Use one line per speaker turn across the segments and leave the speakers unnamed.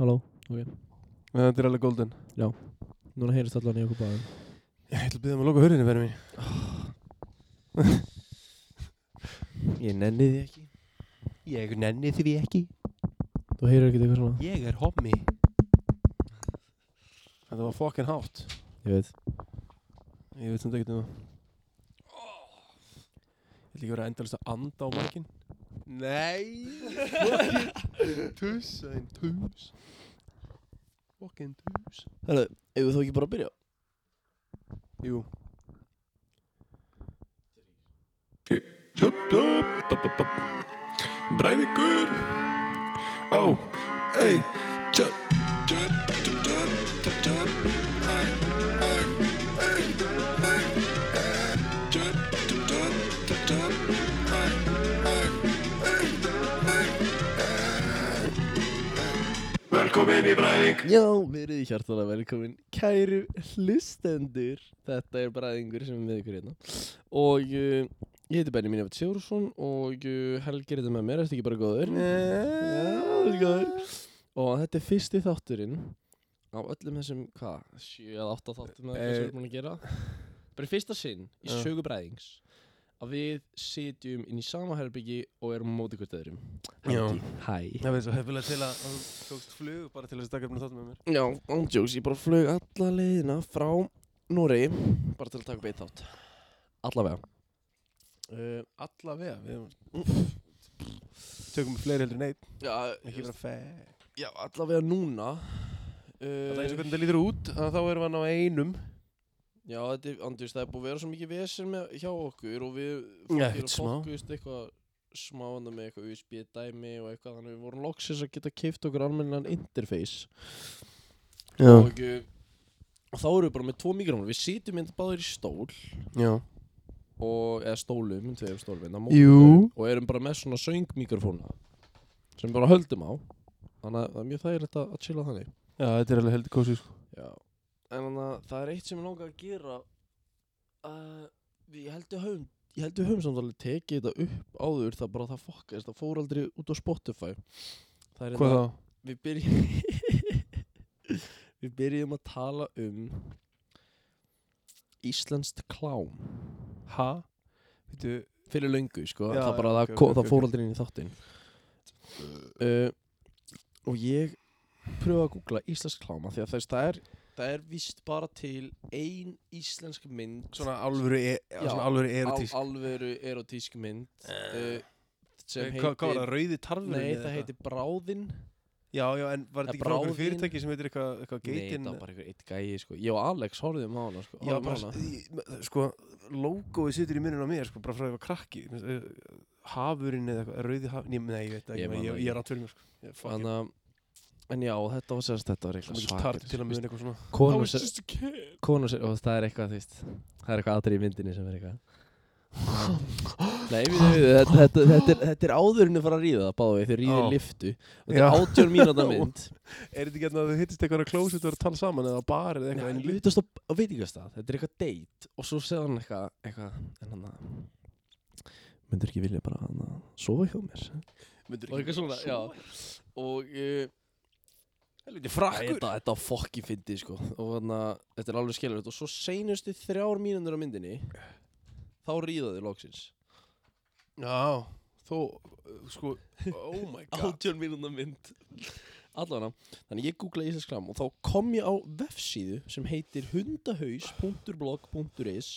Halló,
En þetta er alveg golden
núna heyrist allan í okkur báðum
Ég ætla að byrja um að loka hurðinu fyrir mig Ég nenni því ekki Ég nenni því ekki
Þú heyrir ekkert eitthvað svona
Ég er hommi Þetta var fucking hátt
Ég veit
Ég veit sem þetta ekki um það Ég ætla ekki að vera endalist að anda á mækin Nei Tussaðin tuss Fucking tuss
Hælu, ef þú ekki bara að byrja
Jú
Breiðingur Ó,
Oh,
ei Tjöp, tjöp, tjöp, tjöp, tjöp, tjöp Ei, ei, ei, ei, ei Tjöp, tjöp, tjöp, tjöp, tjöp Ei, ei, ei, ei, ei Velkomin í Breiðing
Já, verið í hjartalega velkomin Kæru hlustendur Þetta er bræðingur sem er með ykkur hérna Og uh, ég heiti Benni Mínjöfn Sigurðsson Og uh, Helgi er þetta með mér Þetta ekki bara góður Já, þetta er góður Og þetta er fyrsti þátturinn Á öllum þessum, hvað, sjö eða átta þáttum Það
Eh,
er búin að gera Bara í fyrsta sinn í
Já.
sögu bræðings Að við sitjum inn í sama herbyggi Og erum á móti hvert öðrum
Já.
Helgi, Hæ
Það verður svo hefðilega til að hann tókst flug bara til þess að dagar búin að þátt með mér
Já, ándjóks, ég bara flög alla leiðina frá Noregi bara til að taka beitt átt Allavega uh,
Eh, Allavega, við Tökum fleiri heldur en einn
Mm. já, eh,
Ekki vera fæ
já, allavega núna
Það er eins og
uh,
hvernig það lítur út að þá erum við hann á einum
Já, þetta er, ándjóks, það er búið að vera svo mikið vesen með, hjá okkur og við
Já,
fólk er
ekkert
að
smá.
fólkust eitthvað smá þarna með eitthvað USB dæmi og eitthvað þannig við vorum loksins að geta keift okkur almennan interface og, uh, og þá erum við bara með tvo mikrofónu við sitjum mynd báðir í stól
Já
og, eða stólum, tveim stólum hérna,
Jú.
og erum bara með svona söngmikrofóna sem bara höldum á þannig að það er mjög þægilegt að, að chilla þannig
Já, þetta er alveg heldur kósi sko
Já. en þannig að það er eitt sem ég langar að gera uh, ég held við höfum ég held við höfum samt alveg tekið þetta upp áður það bara það fokkast, það fór aldrei út á Spotify það er
Hvað
hérna-
þá?
við byrjum við byrjum að tala um Íslandst klám
Ha? Veitu,
fyrir löngu sko,
Já,
það,
já,
bara, það,
ok,
okay,
ok, ok,
það fór
ok.
aldrei inn í þáttinn uh, og ég pröfa að googla íslensk kláma því að þess, það er það er vist bara til ein íslensk mynd
svona alvöru, e
Já,
svona alvöru erotísk
al, alvöru erotísk mynd uh, sem
Eh,
heitir
Hvað hvað var það, rauði tarfurinn?
nei,
eða
það heitir Bráðin
eitthvað? Já, já, en var
Eh,
þetta ekki frá okkur
Bráðin.
fyrirtæki sem heitir eitthvað eitthvað
nei,
geitin?
það var bara einhver eitt gæi sko. ég og Alex horfðum á hana sko,
Já,
horfðum á
bara,
hana.
í- sko, logoið situr í minnum á mér, sko, bara frá því að ég var krakki Mér finnst, eh, Hafurinn eða eitthvað, rauði hafurinn Nei, nei, ég veit það
Ég
ekki,
man
ég,
það
ég
ekki.
er rátt fyrir mér, sko Ég- fuck it.
Þannig að En já, þetta var sérst, þetta var sko.
Svo
eitthvað
mikið tart til að muna eitthvað svona
Kona sér,
just a kid
kona sér, og það er eitthvað, þú veist Það er eitthvað aðri í myndinni sem er eitthvað Nei, við þau, þetta, þetta, þetta, er- þetta er áðurinn að fara að ríða það, báðu við, þau ríðir
Já.
liftu Þetta er
Já.
átjón mínúta mynd
Er þetta ekki hérna að þau hittist eitthvað á klósut og eru að tala saman eða á bar eða eitthvað
Nei,
en
við
lit-
veitast á, á veitingastað, þetta er eitthvað date Og svo segði hann eitthvað, eitthvað, en hann að Myndur ekki vilja bara hann að sofa hjá mér
Myndirðu
Og
ekki-
eitthvað svona, já Og uh,
Helviti
Æ,
frakkur
Þetta, þetta fokki fyndi sko og þannig að þetta er alveg skellilegt og svo seinustu þrjár mínundur á myndinni þá ríða þau loksins
Já, þó, uh, sko, oh my god
átjón mínundar mynd allavega, þannig ég googla Íslands kram og þá kom ég á vefsíðu sem heitir hundahaus.blog.is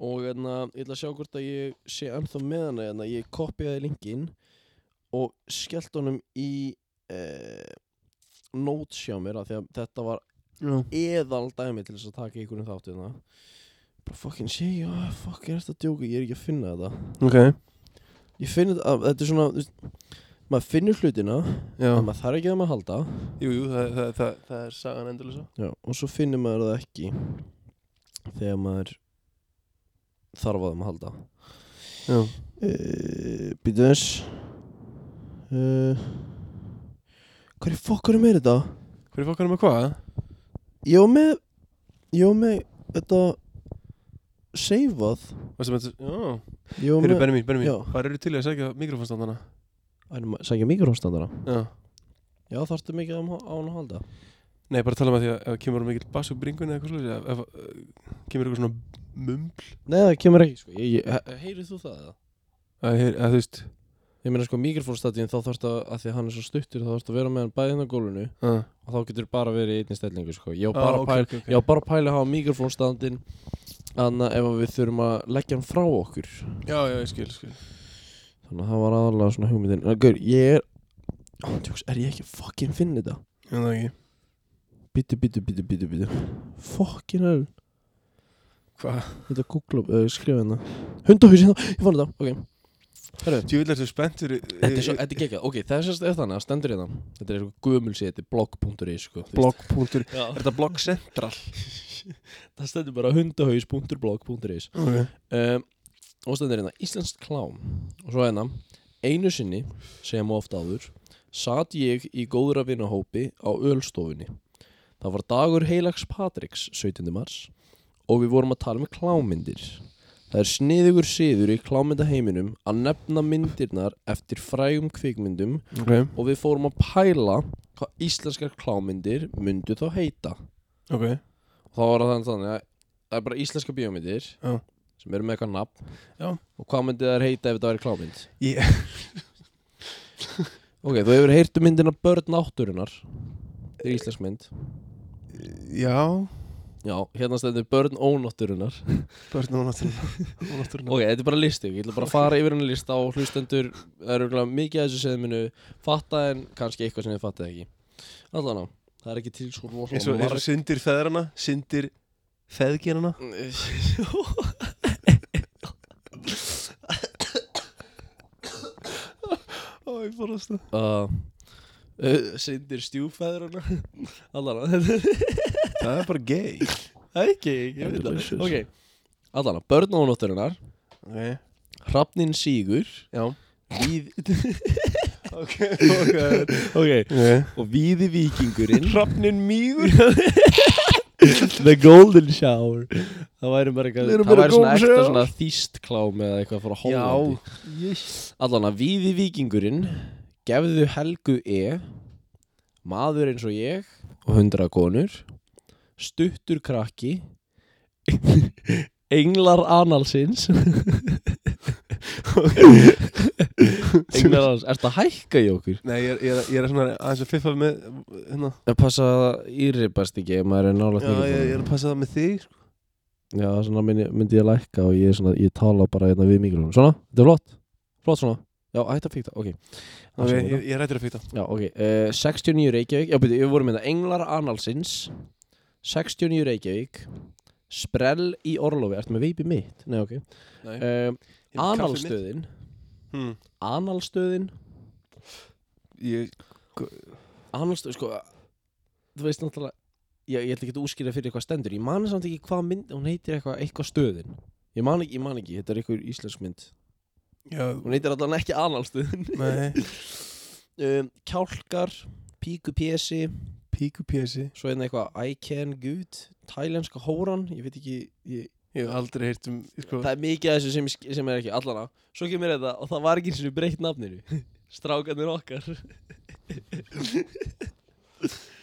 og hérna, ég ætla að sjá hvort að ég sé ennþá með hana hérna, ég kopiðaði linkin og skellt honum í eh, notes hjá mér af því að þetta var
Já,
eðal dæmi til þess að taka ykkur um þáttu hérna bara fucking sé ég, ah, fuck, ég er þetta að djóka ég er ekki að finna þetta
ok,
ég finn þetta, að- þetta er svona, þú veist maður finnur hlutina,
já
en maður þarf ekki að maður halda
Jú, jú, það, það, það, það er sagan endurlega
Já, og svo finnir maður það ekki þegar maður þarf að maður halda
Já,
uh, býtu þess uh, hverju fokkar er meira þetta?
hverju fokkar með hvað?
ég var með ég var með þetta seifað
Varstu með þetta, já
ég var
Hverju,
með,
Benni mín, Benni
Já.
mín, hvað eru til í að segja mikrofónstandana?
Æ, nú maður- sækja mikrofónstandara
Já,
Já, þarftu mikið um, á hann að halda
Nei, bara tala um að því að ef kemur of mikill bass úr bringunni eða eitthvað slúið, ef, ef uh, kemur eitthvað svona mumbl,
Nei, það kemur ekki sko ég, ég, Heyrið þú það eða?
að, heyr- að þú veist,
Ég meina sko mikrofónstættin þá þarfst að, að því að hann er svo stuttur þá þarfst að vera með hann bæðið á gólfinu
að,
og þá getur bara verið í einni stellingu sko Ég á bara,
Ah,
að
ok,
pæla,
ok, ok.
ég á bara að pæla að hafa mikrofónstættin Anna ef að við þurfum að leggja hann frá okkur
já, já, ég skil, skil.
Þannig að það var aðalega svona hugmyndin En gaur, ég er Ó, tjóks, Er ég ekki að fucking finna þetta?
Ég veit það ekki.
Bítu, bítu, bítu, bítu, bítu Fucking hell
Hva?
Þetta googla, uh, skrifa hérna Hundahaus hérna, ég fann þetta, ok Herru,
Þú vil þessu spenntur í-
þetta er svo,
í-
þetta er geggjað Ok, það er sérst þannig að stendur hérna Þetta er eitthvað gömulsið, þetta er blog.is sko, þú
blogg.ru
veist. Já,
Er þetta blogg central?
það stendur bara hundahaus.blog.is
Okay.
um, Og stendur hérna, Íslands klám Og svo hérna, einu sinni, sem og ofta áður Sat ég í góðra vinahópi á ölstofunni Það var dagur heilags Patriks, 17. mars Og við vorum að tala með klámyndir Það er sniðugur siður í klámyndaheiminum að nefna myndirnar eftir frægum kvikmyndum
Okay.
og við fórum að pæla hvað íslenskar klámyndir myndu þá heita.
ok,
Og þá var það þannig að það er bara íslenska bíómyndir
Já.
sem eru með eitthvað nafn
Já.
og hvað myndi þær heita ef þetta væri klámynd?
Ég-
ok, þú hefur heyrt um myndina Börn átturinnar. Þetta er íslensk mynd.
Já
Já, hérna stendur Börn ónátturinnar.
Börn og náttúrulega Og náttúrulega
Ok, þetta er bara listi, ég ætla bara að fara yfir henni lista og hlustendur, það eru örugglega mikið að þessu sem minu fatta en kannski eitthvað sem þið fattið ekki. Allan á, það er ekki til sko svo rosalega
Eins og, eins og syndir feðrana Syndir feðgerana
marg...
Ó, ég forast það
Uh, uh, Sindir stjúfæðurna Allan á, þetta
Það er bara gay
er ekki, ég veit það Ok, allan á, börn ánótturinnar,
Ok,
hrafnin sígur
já
Víð...
Ok, ok,
Ok,
okay.
og víði vikingurinn
Hrafnin mígur
The Golden Shower Það væri bara eitthvað
Little
Það
bit of
væri svona
golden
ekta
shower.
svona þýst klám eða eitthvað frá Hollandi
yes.
Allan að víði vikingurinn Gefðu Helgu E Maður eins og ég Og hundra konur Stuttur krakki Englar analsins Englar analsins Ertu að hækka í okkur?
Nei, ég, er- ég, er- ég er svona aðeins að fiffa með hérna.
Ég passa að það íripast ekki ef maður er nálægt
Já, ég, ég er að passa það með þig sko.
Já, svona myndi, myndi ég lækka og ég, er svona, ég tala bara hérna við mikrofónum. Svona, þetta er flott. Flott svona. Já, hætt að fíkta, ok.
Ok,
Afsakið
ég, ég er rættur að fýta
þetta. Já, ok. Uh, 69 Reykjavík. Já, byrju, við vorum með það. Englar Analsins. 69 Reykjavík. Sprell í Orlofi. Ertu með veipi mitt? Nei, ok. Uh, analstöðin.
hmm.
Analstöðin.
Ég
Analstöðin, sko. Þú veist náttúrulega, ég, ég ætla ekki að útskýra fyrir eitthvað stendur. Ég man samt ekki hvað mynd, hún heitir eitthvað, eitthvað stöðin. Ég man ekki, ég man ekki, þetta er eitthvað íslensk mynd.
Já,
Hún heitir allan ekki analstöðin.
nei
um, Kjálkar Píku Pési
Píku pjæsi
Svo einnig eitthvað I can good Thailandska hóran Ég veit ekki ég,
Ég hef aldrei heyrt um sko,
Það er mikið af þessu sem, ég sk- sem er ekki Allana Svo kemur þetta Og það var ekki eins og breytt nafninu Strákanir okkar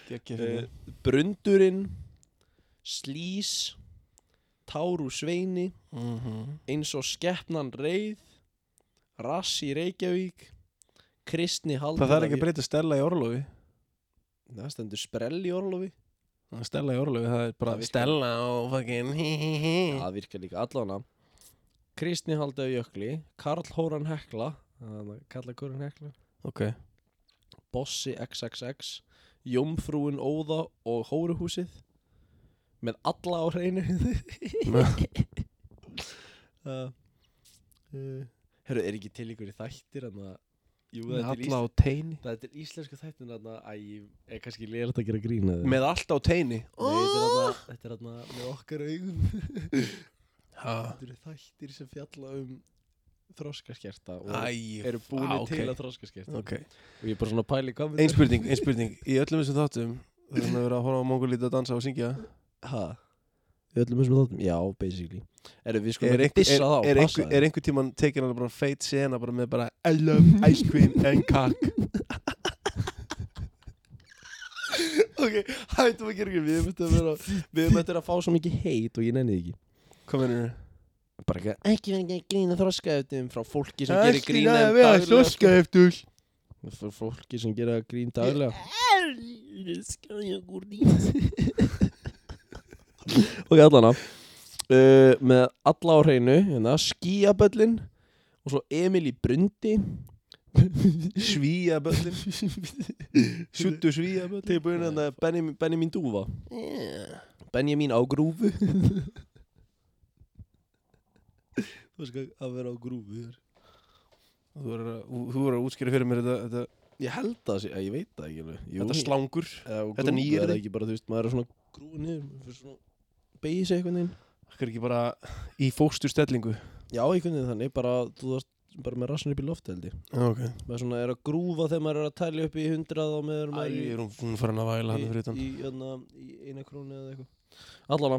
Eh,
uh, Brundurinn Slís Táru Sveini
mm -hmm.
Eins og Skeppnan Reið Rassi Reykjavík Kristni Haldur
Það þarf ekki að breyta Stella í orlofi
Það stendur sprell í orlofi
Stella í orlofi, það er bara
Það virkar.
Stella og fucking hí hí hí
Það virkar líka allana Kristni Haldau Jökli Karl Hóran Hekla Karl Hóran Hekla
Ok
Bossi XXX Jómfrúin Óða og Hóruhúsið með alla á hreinu uh,
Eh,
uh, Herru, er ekki til ykkur í þættir en að Jú,
Með
það er til
alla
ísl...
á teini
Það er til íslenska þættir en að Æ, ég er kannski leiðilegt að gera grína þið
Með allt á teini Ah!
Þetta er þarna með okkar augum Þetta eru þættir sem fjalla um þroskaskerta og
Æ
eru búinir
ah, ok.
til að þroskaskerta
Ok
og ég er bara svona pæli hvað
Ein spurning, ein spurning Í öllum þessum þáttum Þannig að vera að horfa á mongolíti að dansa og syngja
Hæ? Við öllum þessum þáttum? Já, basically Eru við sko
Er
verið að
einhver,
dissa þá,
er, er
passa
einhver, er einhver tíman tekin alveg bara feit sena bara með bara I love ice cream and cock
ok, hættum að gera ekki Við möttum að vera Við möttum að fá svo mikið heit og ég nennið ekki
Hvað mennur þau?
Bara ekki, ekki verið að grína þroskaeftum frá fólki sem gerir
Ekki
grína
næði að vera þroska eftir
Frá fólki sem gera grín daglega Ok, allana uh, Með alla á hreinu hérna, Skíaböllin Og svo Emil í Brundi
Svíaböllin Sjúttu svíaböllin
Þegar búin hérna Benjamin, Benjamin Dúfa Benjamin á grúfu
Þú skal að vera á grúfi þér Þú verður að, þú verður að útskýra fyrir mér þetta, þetta,
Ég held það, sé- ég veit það ekki alveg Jú,
þetta
ég-
slangur Þetta
Þetta
er nýyrði.
nýjir Það ekki bara, þú veist, maður er svona grúið niður maður fer svona- Beygir sig einhvern veginn
Það er ekki bara í fósturstellingu
Já, einhvern veginn þannig, bara Þú þarst bara með rassin upp í loft held ég
okay.
Maður svona er að grúfa þegar maður er að tæli upp í hundrað og meður
Æ,
maður í-
er hún, hún farin að væla hann fyrir utan
í, í, hérna, í eina krónu eða eitthvað Allana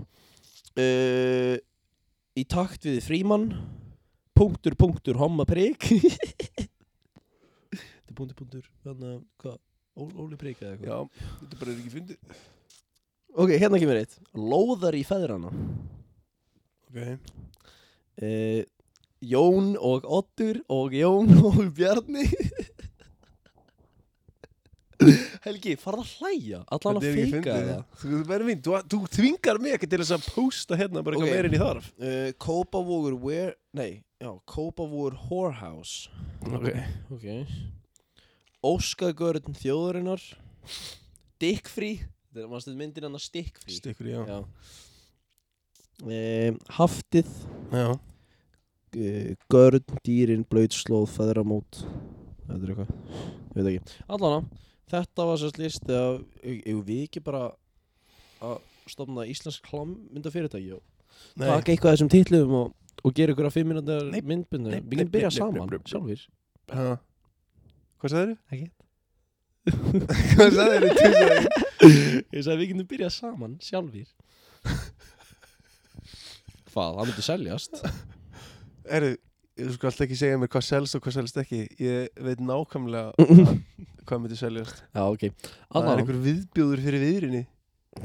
uh, Í takt við frímann Punktur, punktur, homma prik Þetta er punktur, punktur Þannig að, hvað, Ó- Óli prik eða eitthvað
Já, þetta bara er ekki fyndið
Ok, hérna kemur eitt Lóðar í feðrana
okay.
uh, Jón og Ottur og Jón og Bjarni Helgi, farð að hlæja Allan að feika það
Þú verður mín, þú, þú þvingar mig ekki til þess að posta hérna bara
Ok.
eitthvað meira inn í þarf
Uh, Kópavogur where Nei, já, Kópavogur whorehouse
okay.
Ok Óskagörðn þjóðurinnar Dickfree Þetta er maður stund myndir hann að stickfree
Stikkur, já.
Já um, Haftið
já
uh, Görðn, dýrin, blöytslóð, feðramót Þetta er eitthvað Ég veit ekki Allana, þetta var sérst list Þegar, e, eigum við ekki bara Að stofna íslensk klammynda fyrirtæki Og
Nei.
taka eitthvað af þessum titlum og, og gera ykkur að fimm minútar
Nei,
myndbundu
nei,
Við getum
nei,
byrjað
nei, nei,
saman
nei, nei.
sjálfur
Ha. Hvað sagðið þér?
Ekkert.
Hvað sagðið þér?
Ég sagði við getum byrjað saman sjálfur Hvað, það myndi seljast
Erðu, þú skal alltaf ekki segja mér hvað selst og hvað selst ekki Ég veit nákvæmlega að, hvað myndi seljast
Já, ok
Það er
Allan,
einhver viðbjóður fyrir viðrinni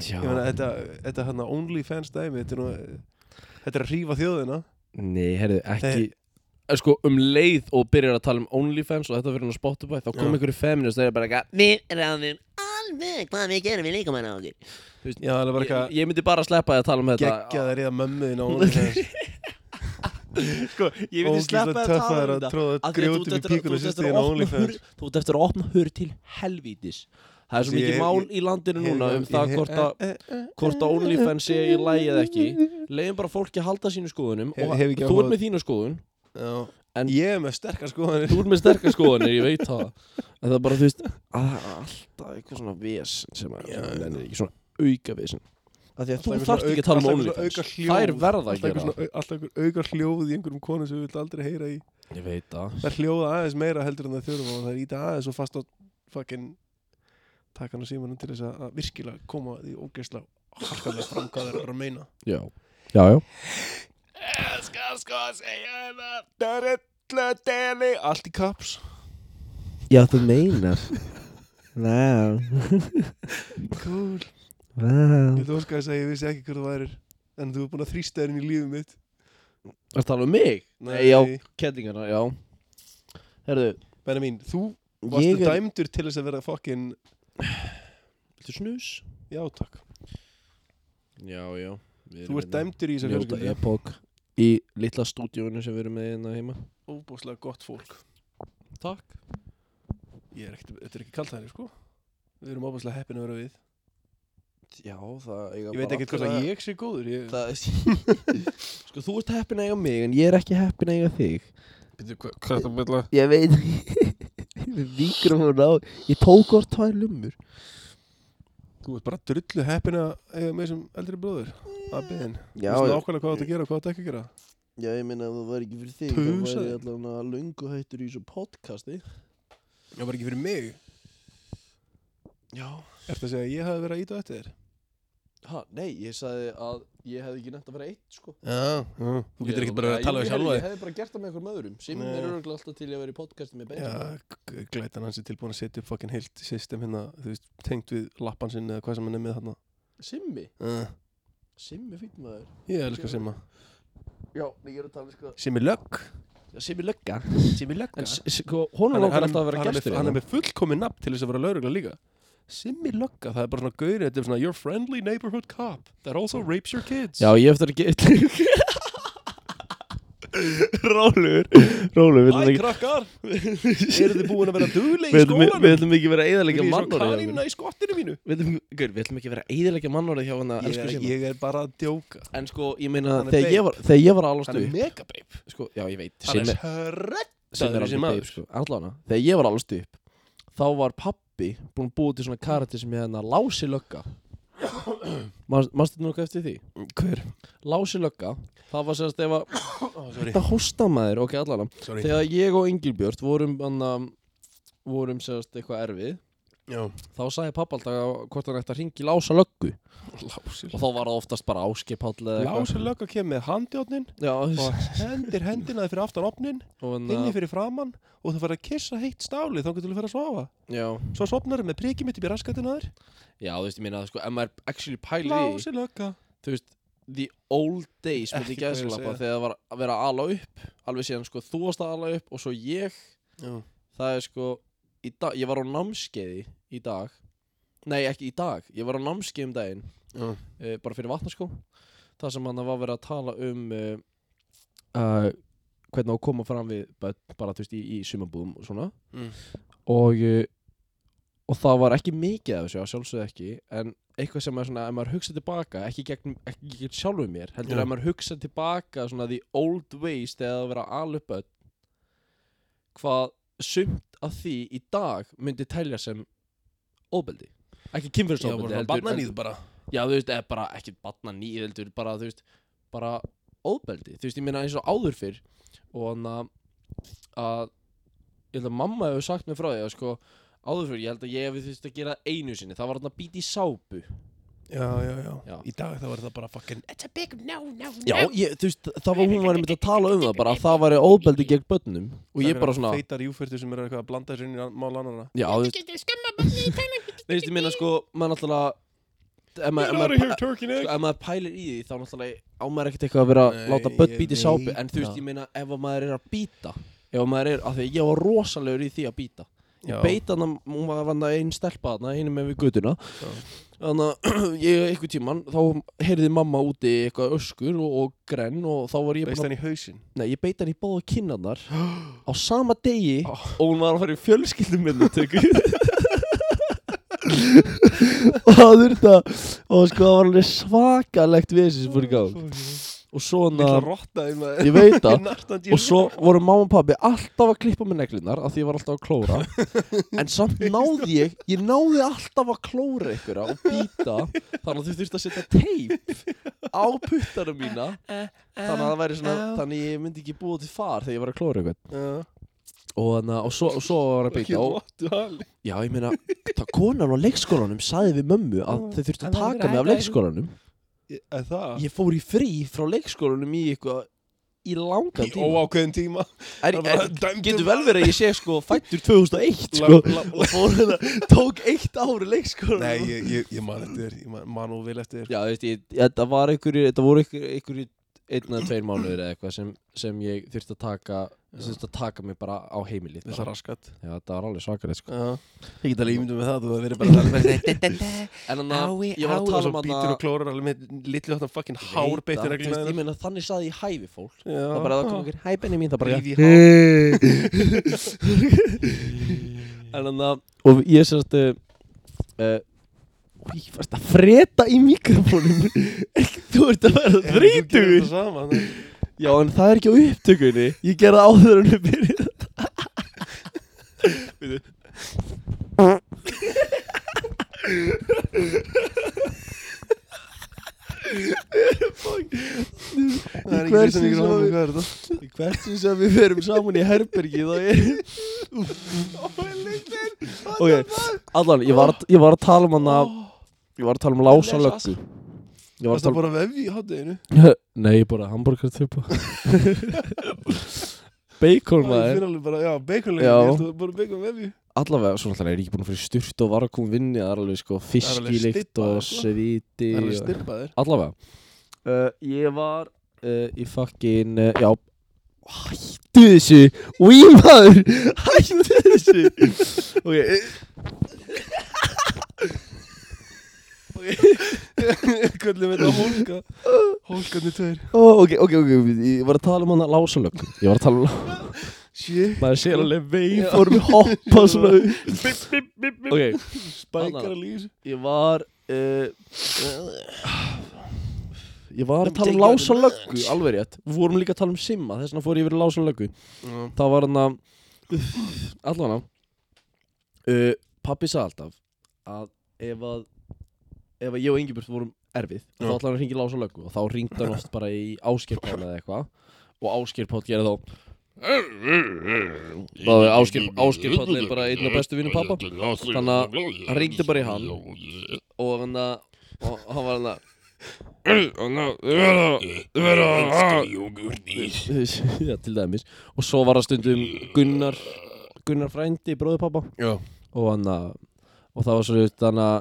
já,
Ég meina, þetta, þetta hann að OnlyFans dæmi Þetta er, nú, þetta er að hrífa þjóðina
Nei, herðu, ekki Eh, Sko, um leið og byrjar að tala um Onlyfans og þetta fyrir hann á Spotify þá kom
Já.
einhverju feminist þegar bara eitthvað
Við ráðum alveg hvað við gerum við líkamann á okkur.
Já, það er bara
ég,
eitthvað
ég myndi bara sleppa því að tala um þetta
geggjaðar eða mömmuðin á OnlyFans
Sko, ég myndi sleppa því að tala um
töffaðar að
þetta
tróða
af því að þú ert
grjótum í
eftir að- þú
píkuna
ert eftir
sýstir
að
á
opna hurð-
OnlyFans
þú ert eftir að opna hurð til helvítis Það er svo
Ég-
mikið
ég-
mál í landinu núna um það hvort að hvort að OnlyFans sé í lagi eða ekki leiðum bara fólki að halda sínu skoðunum
Hef-
og
hef ekki
þú
áhuga-
ert með þínu skoðun En-
En ég er með sterkar skoðanir
þú ert með sterkar skoðunir, ég veit það en það er bara, þú veist, að það er alltaf eitthvað svona vesen sem að
Já,
sem nennir ekki, svona auka vesen af því að þú
Alltaf
þarft
eitthvað
ekki að tala um
svona auka- alltaf
OnlyFans
eitthvað svona auka
það er
hljóð.
verða að
Alltaf
gera
einhver, svona, alltaf einhver auka hljóð í einhverjum konu sem við vilt aldrei heyra í
ég veit það,
Það er hljóða aðeins meira heldur en það þurfa og það er íta aðeins og fast á fucking taka hann á símanum til þess að að virkilega koma því ógeðslega harkalega fram hvað þeir eru að meina
já já, já,
Skal sko að segja hennar Dörrilla deli Allt í kaps
já þú meinar wow,
Cool
wow
Ég þú óskaði að segja ég vissi ekki hvað það værir En þú er búin að þrýsta þér inn í lífið mitt
það tala um mig, nei, já, kettingana, já herðu,
Benna mín, þú
ég
varstu
er
dæmdur til þess að vera fucking
Viltu snus?
Já takk
já, já
Þú ert dæmdur í þess að
hérna. Njóta
fjölskyldu
epok í litla stúdíónu sem við erum með hérna heima
Óbúslega gott fólk
Takk
Ég er ekkert, þetta er ekki kalt þannig sko Við erum óbúslega heppin að vera við
Já, það eiga
Ég veit ekkert hvort að ég sé góður ég...
það, Sko, þú ert heppin að eiga mig en ég er ekki heppin að eiga þig
Býtu, hva- Hvað er það með það?
Ég veit Við víkrum hún á Ég tók orð tvær lumur
Þú ert bara drullu heppin að eiga með sem eldri bróður Abbiðin
Já,
Þú veist nákvæmlega hvað þú átt að gera og hvað þú átt ekki að gera
já ég meina að það var ekki fyrir þig
Pusa
Það væri
þig.
allavega löngu hættur í þessu podcasti
Já, bara ekki fyrir mig
Já
Ertu að segja að ég hafi verið að íta á eftir þér?
Ha, nei, ég sagði að ég hefði ekki nefnt að vera eitt sko
Já, já, þú getur
Ég-
ekki bara að
Ég-
tala við
ég-
sjálfa
Ég hefði bara gert það með einhverjum öðrum Simmi
Nei.
er örgulega alltaf til ég að vera í podcasti með
Já,
Benjamin
g- glætan hans er tilbúin að setja upp fucking heilt system hérna, þú veist, tengt við lappan sinni eða hvað sem hann er með þarna.
Simmi?
Uh,
Simmi fýtt maður
ég elskar Simma.
Já, ég er að tala sko
Simmi Lögg.
Simmi lögga
Simmi Lögg.
En s- sko, honum langar alltaf að vera gestur
Hann er
hérna.
með fullkomin nafn til þess að vera lögregla líka. Simmi Lögga, það er bara svona gaurið, þetta er svona your friendly neighborhood cop that also rapes your kids.
Já, ég eftir að geta Rólur Rólur, við ætlum
Æ,
ekki
krakkar, eru þið búin að vera dugleg í
Við ætlum,
skólanum?
við ætlum ekki vera að eðalega
Viljið svo
mannorðið hjá honum.
kanína í skottinu mínu?
Við ætlum, gaur, við ætlum ekki vera að eðalega mannorðið hjá hann að elsku Simma
ég er bara að djóka.
En sko, ég meina,
Hann er
þegar ég var, þegar ég var að alast
Hann er
upp
mega beip.
sko, Já, ég veit,
Hann
Simmi
er
sem
hrættaður
er
þessi
alveg
maður.
beip sko. allána, þegar ég var alveg stup þá var pappi búin að búa til svona karati sem ég hérna Lási Lögga mannstu þetta nokkuð eftir því?
Hver?
Lási Lögga, það var sérst þegar var-
sorry,
þetta hóstamæður, ok allána
sorry.
þegar ég og Engilbjört vorum anna, vorum sérst eitthvað erfið
Já,
þá sagði pappa alltaf hvort hann ætti að ringi Lása Löggu
lásir.
og þá var það oftast bara áskipall eða eitthvað
Lásir lögga kemur með handjárnin
Já, og, hérna,
og hendir hendina fyrir aftan opnin,
og,
inni
og,
fyrir framann og það fara að kissa heitt stáli þá getur þú fyrir að sofa.
já,
Svo sopnar með prikið mitt upp í raskatina þér.
já, þú veist, ég meina sko, ef maður actually pælir í
Lásir lögga.
þú veist, the old days myndi
Ekki hvað ég er að
gæðslappa
segja.
þegar það var að vera að ala upp alveg síðan sko þú varst að ala upp og svo ég,
Já.
það er sko í dag, ég var á námskeiði í dag nei ekki í dag, ég var á námskeiði um daginn
Já.
e, bara fyrir vatnaskó það sem hann var verið að tala um e, uh, hvernig á að koma fram við börn, bara þú veist í, í sumabúðum og svona
Mm.
og eh, og það var ekki mikið af þessu að sjálfsögðu ekki en eitthvað sem er svona, ef maður hugsa tilbaka ekki gegn, ekki gegn sjálfum mér heldur
Já.
ef maður hugsa tilbaka svona the old ways þegar það var að alupa hvað sumt af því í dag myndi telja sem óbeldi ekki
Já,
kynfyrirsóbeldi
bara barnaníð bara.
Já, þú veist, eða bara ekki batna nýðildur, bara, þú veist, bara óbeldi. Þú veist, ég meina eins og áður fyrr og hann að, að ég held að mamma hefur sagt mér frá því að sko, áður fyrr, ég held að ég hefði þurft að gera það einu sinni, það var hann að býta í sápu.
Já, já, já,
Já.
Í dag þá var það bara fucking
Já, ég, þú veist, það var hún var einmitt að tala um það bara, að það væri óbeldi gegn börnum og ég bara svona,
Feitar júfertur sem eru eitthvað að blanda þessu inn í an- mál annarna.
já, þú veist, þú veist, ég meina sko, maður náttúrulega, ef maður- ef maður,
turkey
sko, ef maður pælir í því þá náttúrulega á maður ekkert eitthvað að vera
Nei,
að láta börn
ég
býta í
veit
sápu en þú veist,
það.
ég meina ef að maður er að býta ef að maður er, af því að ég var rosalegur í því að býta
Já.
ég beita hann, hún var hann einn stelpa hann einu með við gutuna þannig að ég einhver tíman þá heyrði mamma úti eitthvað öskur og, og grenn og þá var ég
Veist
bara,
hann í hausinn?
nei, ég beita hann í báða kinnanar á sama degi og hún var að fara í fjölskyldum og það þurfti að og sko það var alveg svakalegt við þessi sem fór í gang og svona,
Lilla rotta í maður.
ég veit það
það
og svo voru mamma og pabbi alltaf að klippa með neglinar af því ég var alltaf að klóra en samt náði ég ég náði alltaf að klóra ykkur og býta þannig að þau þurfti að setja teip á puttana mína þannig að það væri svona þannig að ég myndi ekki búa til far þegar ég var að klóra ykkur og, hana, og, svo, og svo var hann að býta og, Já, ég meina, það konan á leikskólanum sagði við mömmu að
Já,
þau þurftu
en
að
það er
taka mig af
ræða-
leikskólanum
Er það?
Ég fór í frí frá leikskólanum í eitthvað í langan
Í
tíma
óákveðin tíma
er,
það
er,
var dæmdur
Getur vel verið að ég sé sko fættur 2001 sko
Lá- lá-
og fór þetta, tók eitt ári leikskólanum
Nei, ég, ég, ég man eftir þér Ég man, man og vil eftir þér
Já, þú veist, ég, þetta var einhverju, þetta voru einhverju, einhverju einn að tveir mánuður eða eitthvað sem, sem ég þurfti að taka þurfti að taka mig bara á heimilið
Þetta er
bara.
raskat
Já, þetta var alveg svakarið sko
Ég get alveg ímyndum með það Þú hefur verið bara að vera
En þannig að ég var að
Og
tala
svo
um að
bítur og klórar alveg með Lillu þáttan fucking
Ég veit
hár
það,
beittur
þú veist, Ég
reglina
meina þannig saði ég hæfi fólk
Já.
Það bara að það kom einhver hæ Benni mín Það bara
Ríf í
En þannig að Og ég sérst uh, uh, Í fyrst að freta í mikrofónum Ekki, Þú ert að vera
Þrítugur
þrítugur Já en það er ekki á upptökunni Ég gerði það áður en við byrjuð
Það er
Í
ekki
hvert
fyrir sem
sinn sem
ykkur hann
við-
Hvað er þetta?
Í hvert sinn sem við ferum saman í herbergi Þá er Ok Allan ég var, að- ég var að tala um hann að Ég var að tala um lása löggu Ég var
Varst það
tólf
bara vefi í hátteginu?
Nei, ég bara hambúrgar typa Bacon
Ég
maður
finn alveg bara, já, baconlegin,
Já.
ég held að bara bacon vefi
Allavega, svo náttúrulega er ég ekki búin að fyrir styrt og vargum vinni Það er alveg sko fiskilikt
stybbaður,
og
sko.
sviti
Það er alveg
og-
styrpaðir
Allavega uh, Ég var uh, í fucking uh, Já Hættu þessu Új maður Hættu þessu Ok eh,
Köllum þetta hólka Hólkarnir tveir
ó, Ok, ok, ok Ég var að tala um hana lásalögn Ég var að tala um lá-
Shit
Maður sé alveg veiformi hoppa svona upp. Ok
Spækara lýs
Ég var uh, Ég var að tala um
Taking
lásalöggu Alveg rétt Við vorum líka að tala um simma Þess vegna fór ég yfir í lásalöggu Það var hann að Allan á uh, Pappi sagði alltaf Að ef að Ef að ég og Ingebjörn vorum erfið Þá
Já.
ætlaði hann að ringi lása löggu Og þá ringdi hann oft bara í áskirpála eða eitthvað Og áskirpál gera þá Það er Ásgeir- Ásgeir Páll er bara einn af bestu vinum pabba. Þannig að hann ringdi bara í hann. Og hann að Og hann var hann að
Þú
er
verður að
Ah.
Elskar jógurnir
Já, til dæmis Og svo var það stundum Gunnar Gunnar frændi, bróðupappa
Já.
Og hann að Og það var svo þannig að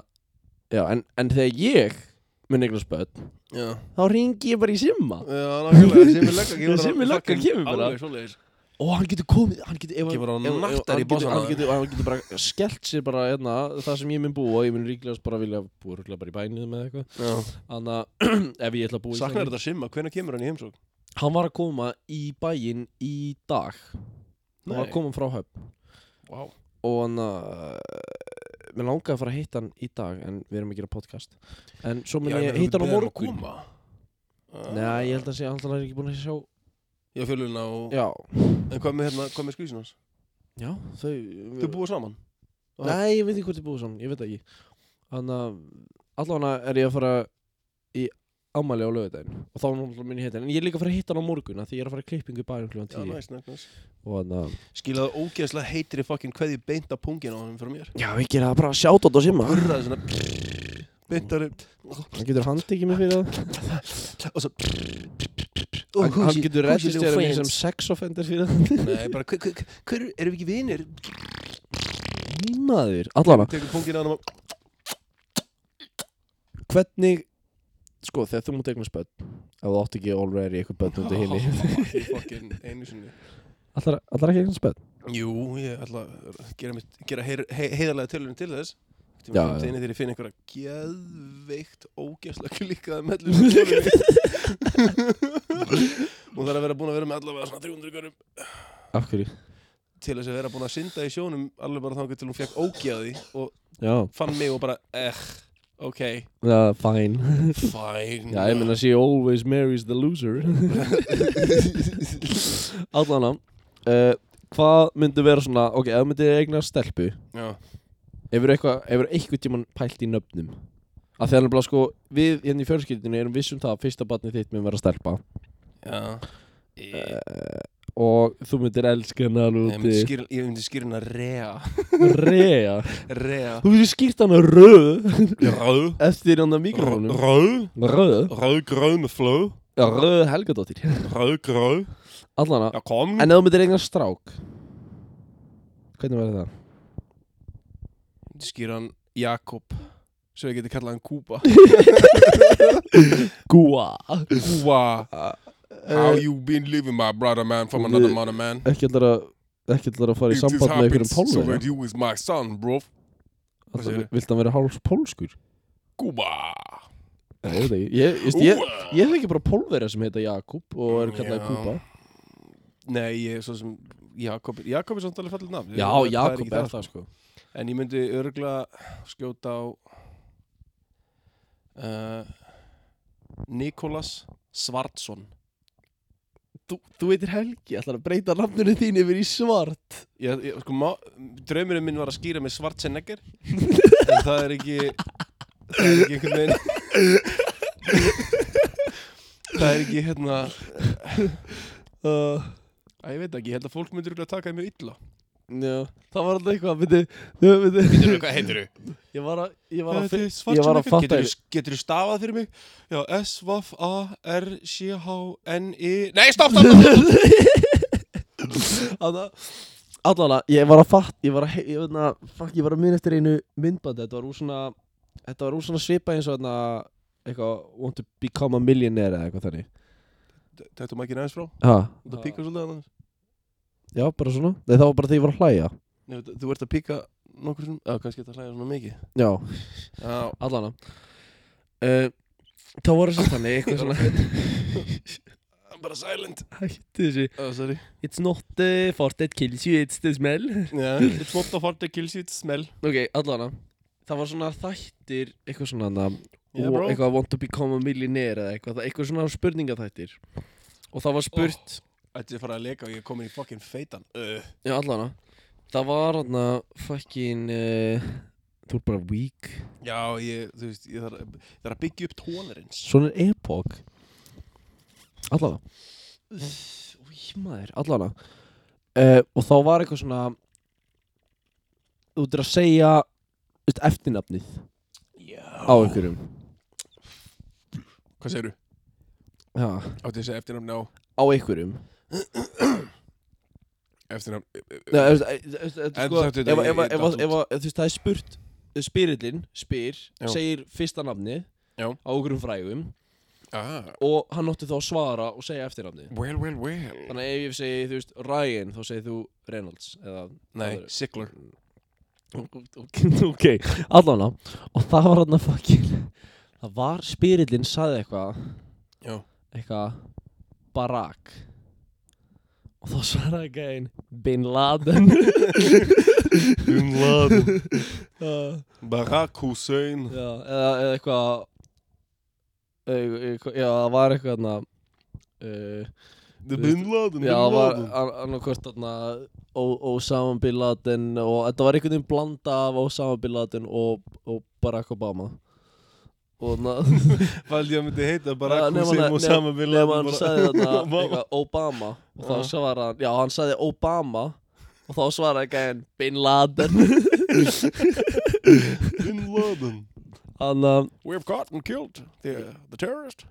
Já, en, en þegar ég mun eignast börn
Já
Þá ringi ég bara í simma
Já, nákvæmlega Simmi lögga
Já,
kemur
Simmi lögga kemur bara.
Alveg svoleiðis
Og hann getur komið Hann getur ef-
Kemur á
ef- ef-
nattar
hann
í
getur-
básana.
Hann getur, hann getur bara skellt sér bara hérna Það sem ég mun búa Ég mun ríklegast bara vilja búa Ríklega bara í bænum eða eitthvað Þannig að ef ég ætla að búa í
Saknar
þannig-
þetta Simma, hvenær kemur hann í heimsók?
Hann var að koma í bæinn í dag Hann var
Nei.
að koma frá höfn
Vá
og hann að mér langaði að fara að hitta hann í dag en við erum að gera podcast en svo mun ég hitta hann á morgun Nei, ég held að sé alltaf hann er ekki búin að sjá
Ah. Já, fjöluna og
Já,
En hvað með hérna, hvað með skvísin hans?
já, þau
Þau búa saman
Nei, ég veit ekki hvort þau búið saman, ég veit það ekki Þannig að allavega er ég að fara í ammæli á laugardaginn og þá er hann mun ég hitta hann en ég er líka að fara að hitta hann á morgun af því ég er að fara í klippingu í bærum klukkan
Já,
10
næst, næst, næst
og eh, þannig að
Skilaðu ógeðslega heitri fucking kveði beint af pungin á hann frá mér
Já, ég gera það bara að sjáta þetta sem að
Hurraði svona Beintari
Hann getur handikið mig fyrir það
Og svo
Hann,
Who's
hann
your-
getur
who's your
rettist þér
friends?
sem sex offender fyrir það
Nei, bara, hver, hver, hver, hver erum við ekki vinir?
Nýmaður, allavega
Tekur pungin að hann og
hvernig sko þegar þú mútt eignast börn ef þú átt ekki already eitthvað börn út í heimi
Í fucking einu sinni
allar, allar ekki eignast börn
Jú, ég ætla að gera, mitt, gera heyr, he, heiðarlega tölunum til þess
Já,
Tíma
já.
framtíðinni þegar ég finn einhverja geðveikt ógeðslega klíkaða mellum í tölunni. Hún þarf að vera búin að vera með allavega svona 300 görum
af hverju?
til þess að vera búin að synda í sjónum alveg bara þangar til hún fekk ógeði og
já,
fann mig og bara, eh, ok,
uh, fine
fine
já, ég meina she always marries the loser allan á uh, hvað myndi vera svona ok, ef þú myndi eignast stelpu
Já,
hefur eitthvað, hefur eitthvað tíman pælt í nöfnum að þegar nefnilega sko við hérna í fjölskyldinu erum vissum það að fyrsta barnið þitt mun vera stelpa Eh,
já
og þú myndir elska hennar
Ég myndi
úti
skýra, ég myndi skýra hana rea
Rea
Rea
Þú getur skýrt hann að röð
Rauð
Eftir
hérna
hann að mikrófónum
Rauð
Röð
Rauðgröð með fló
Já, röð helgadóttir
Rauðgröð
Allan að
Já, kom
En ef þú myndir eignast strák Hvernig verður það?
myndi skýra hann Jakob Svo ég geti kallað hann Kúba
Gúa
Kúba How you been living my brother man From another mother man
Ekki allar að Ekki allar að fara í
It just
samband með
happens
einhverjum
So that
pólverja
you is my son bro
Alltaf,
segirðu?
Vilt hann vera háls pólskur?
Kúba
Nei, ég veit ekki. Ég, just, ég, ég þekki bara pólverja sem heita Jakub og eru kallaði
Já.
Kúba
Nei, ég er svo sem Jakob Jakob er samt alveg fallið nafn
Já,
Það er ekki
Jakub er
sko.
það sko
En ég myndi örgla skjóta á uh, Nikolas Svartson
Þú, þú heitir Helgi, ætlar að breyta nafninu þín yfir í svart
ég, ég, sko, má, Draumurinn minn var að skýra með Svartsenegger En það er ekki Það er ekki einhvern veginn Það er ekki hérna
uh,
Æ, ég veit ekki, ég held að fólk myndi örugglega taka það mjög illa
Já, það var alltaf eitthvað, veitu, veitu, veitu,
Hvað heitir þú?
ég var að, ég var að, fi- ég var að fatta,
Svartsenegger, getur þú stafað fyrir mig? Já, S-V-A-R-C-H-N-I E. Nei,
Stopp, stopp, stopp
allavega, ég var að fatta, ég var að, he- ég veit að, fuck, ég var að minna eftir einu myndbandi, þetta var úr svona, þetta var úr svona svipa eins og þarna, eitthvað, want to become a millionaire eða eitthvað þannig.
Þetta er maður ekki frá
Ha,
Þú píkar svolítið annars
já, bara svona, Nei, það var bara þegar ég var að hlæja.
Nei, þú- Þú ert að píka nokkur sem Já, kannski þetta hlæða svona mikið
Já,
Já,
allavega. Uh, það voru svo þannig, eitthvað svona,
bara silent
hætti þessi,
Oh, sorry
it's not the fart that kills you, it's the smell.
yeah. It's not the fart that kills you, it's smell
Ok, allavega Það var svona þættir, eitthvað svona hana,
Yeah,
og
bro
eitthvað want to become a millionaire eða eitthvað, það- eitthvað svona spurningaþættir og það var spurt
Þetta er farið að leka og ég er komin í fucking feitan uh.
Já, allavega Það var hann að fucking uh, Þú er bara weak
Já, ég, þú veist, ég þarf, ég þarf að byggja upp tónarins
Svona er epok Allavega Új, maður, allavega uh, Og þá var eitthvað svona Þú ert að segja þú veist, eftirnafnið
Já
á einhverjum
Hvað segirðu?
Já,
Áttu þessi eftirnafn á
á einhverjum
eftirnafn
Nei, þú veist, þú veist, þetta er
En
sko-
samt þetta,
ef- ef-
ég- ég
ef- ef-
datt
ef- þú veist, það er spurt spyrillin spyr,
Já.
segir fyrsta nafni
Já.
á okkurum frægum
ah.
og hann átti þá að svara og segja eftirnafni
Well, well, well
þannig að ef ég segi, þú veist, Ryan þá segir þú Reynolds eða,
Nei, Sigler
ok, allavega og það var hann að fucking það var, spyrillin saði eitthvað
Já.
eitthvað Barack og þá svaraði gæinn Bin Laden
Bin Laden
það
Barack Hussein
Já, eða, eða eitthvað eða eitthvað- Já, það var eitthvað þarna uh,
The Bin Laden
Já, það var annarkvort þarna Ó- Osama Bin Laden og þetta var einhvern veginn blanda af Osama Bin Laden og, og Barack Obama og þarna
Valdi að myndi heita
Ja,
Barack
nema
Hussein
hann-
og Osama Bin
nema
Laden
hann
bara-
sagði þarna
Obama.
eitthvað Obama og þá
Já.
svaraði hann, já hann sagði Obama og þá svaraði gæðin Bin Laden
Bin Laden
Þannig að
We have caught and killed the, the terrorist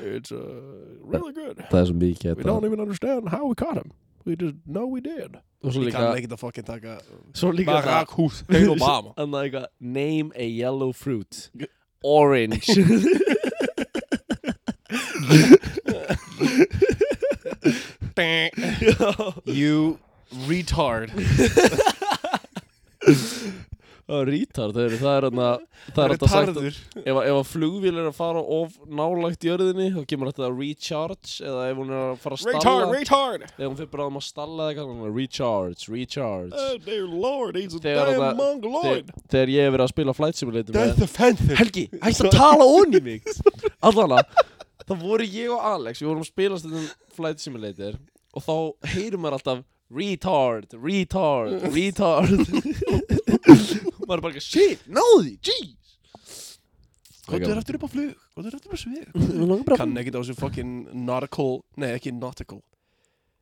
It's uh, really good
Það er svo mikið
We don't even understand how we caught him We just know we did
Og svo líka
ekki að fucking taka
Svo líka það-
Barack Hussein Obama
Þannig að eitthvað Name a yellow fruit Orange
You retard
Það er rítar þau eru Það er hérna Það er alltaf sagt að-
Retardur
Ef, að- ef að flugvíl er að fara of nálægt jörðinni Þá kemur þetta recharge Eða ef hún er að fara að stalla
Retard, retard
Ef hún fyrir bráðum að stalla eða eitthvað þannig að Recharge, recharge
Oh dear lord, he's a
Þegar
damn
það-
mongoloid
þegar, þegar ég hef verið að spila Flight Simulator með
Death offender
Helgi, hætti að tala ón í mig Allana, það voru ég og Alex Við vorum að spila stundum Flight Simulator Og þá heyrum maður alltaf Retard, retard, retard Maður er bara ekki Shit, náði, jeez
Hvað er aftur upp á flug? Hvað er aftur upp á svig?
Kann-
Kann ekkert á þessu fucking nautical Nei, ekki nautical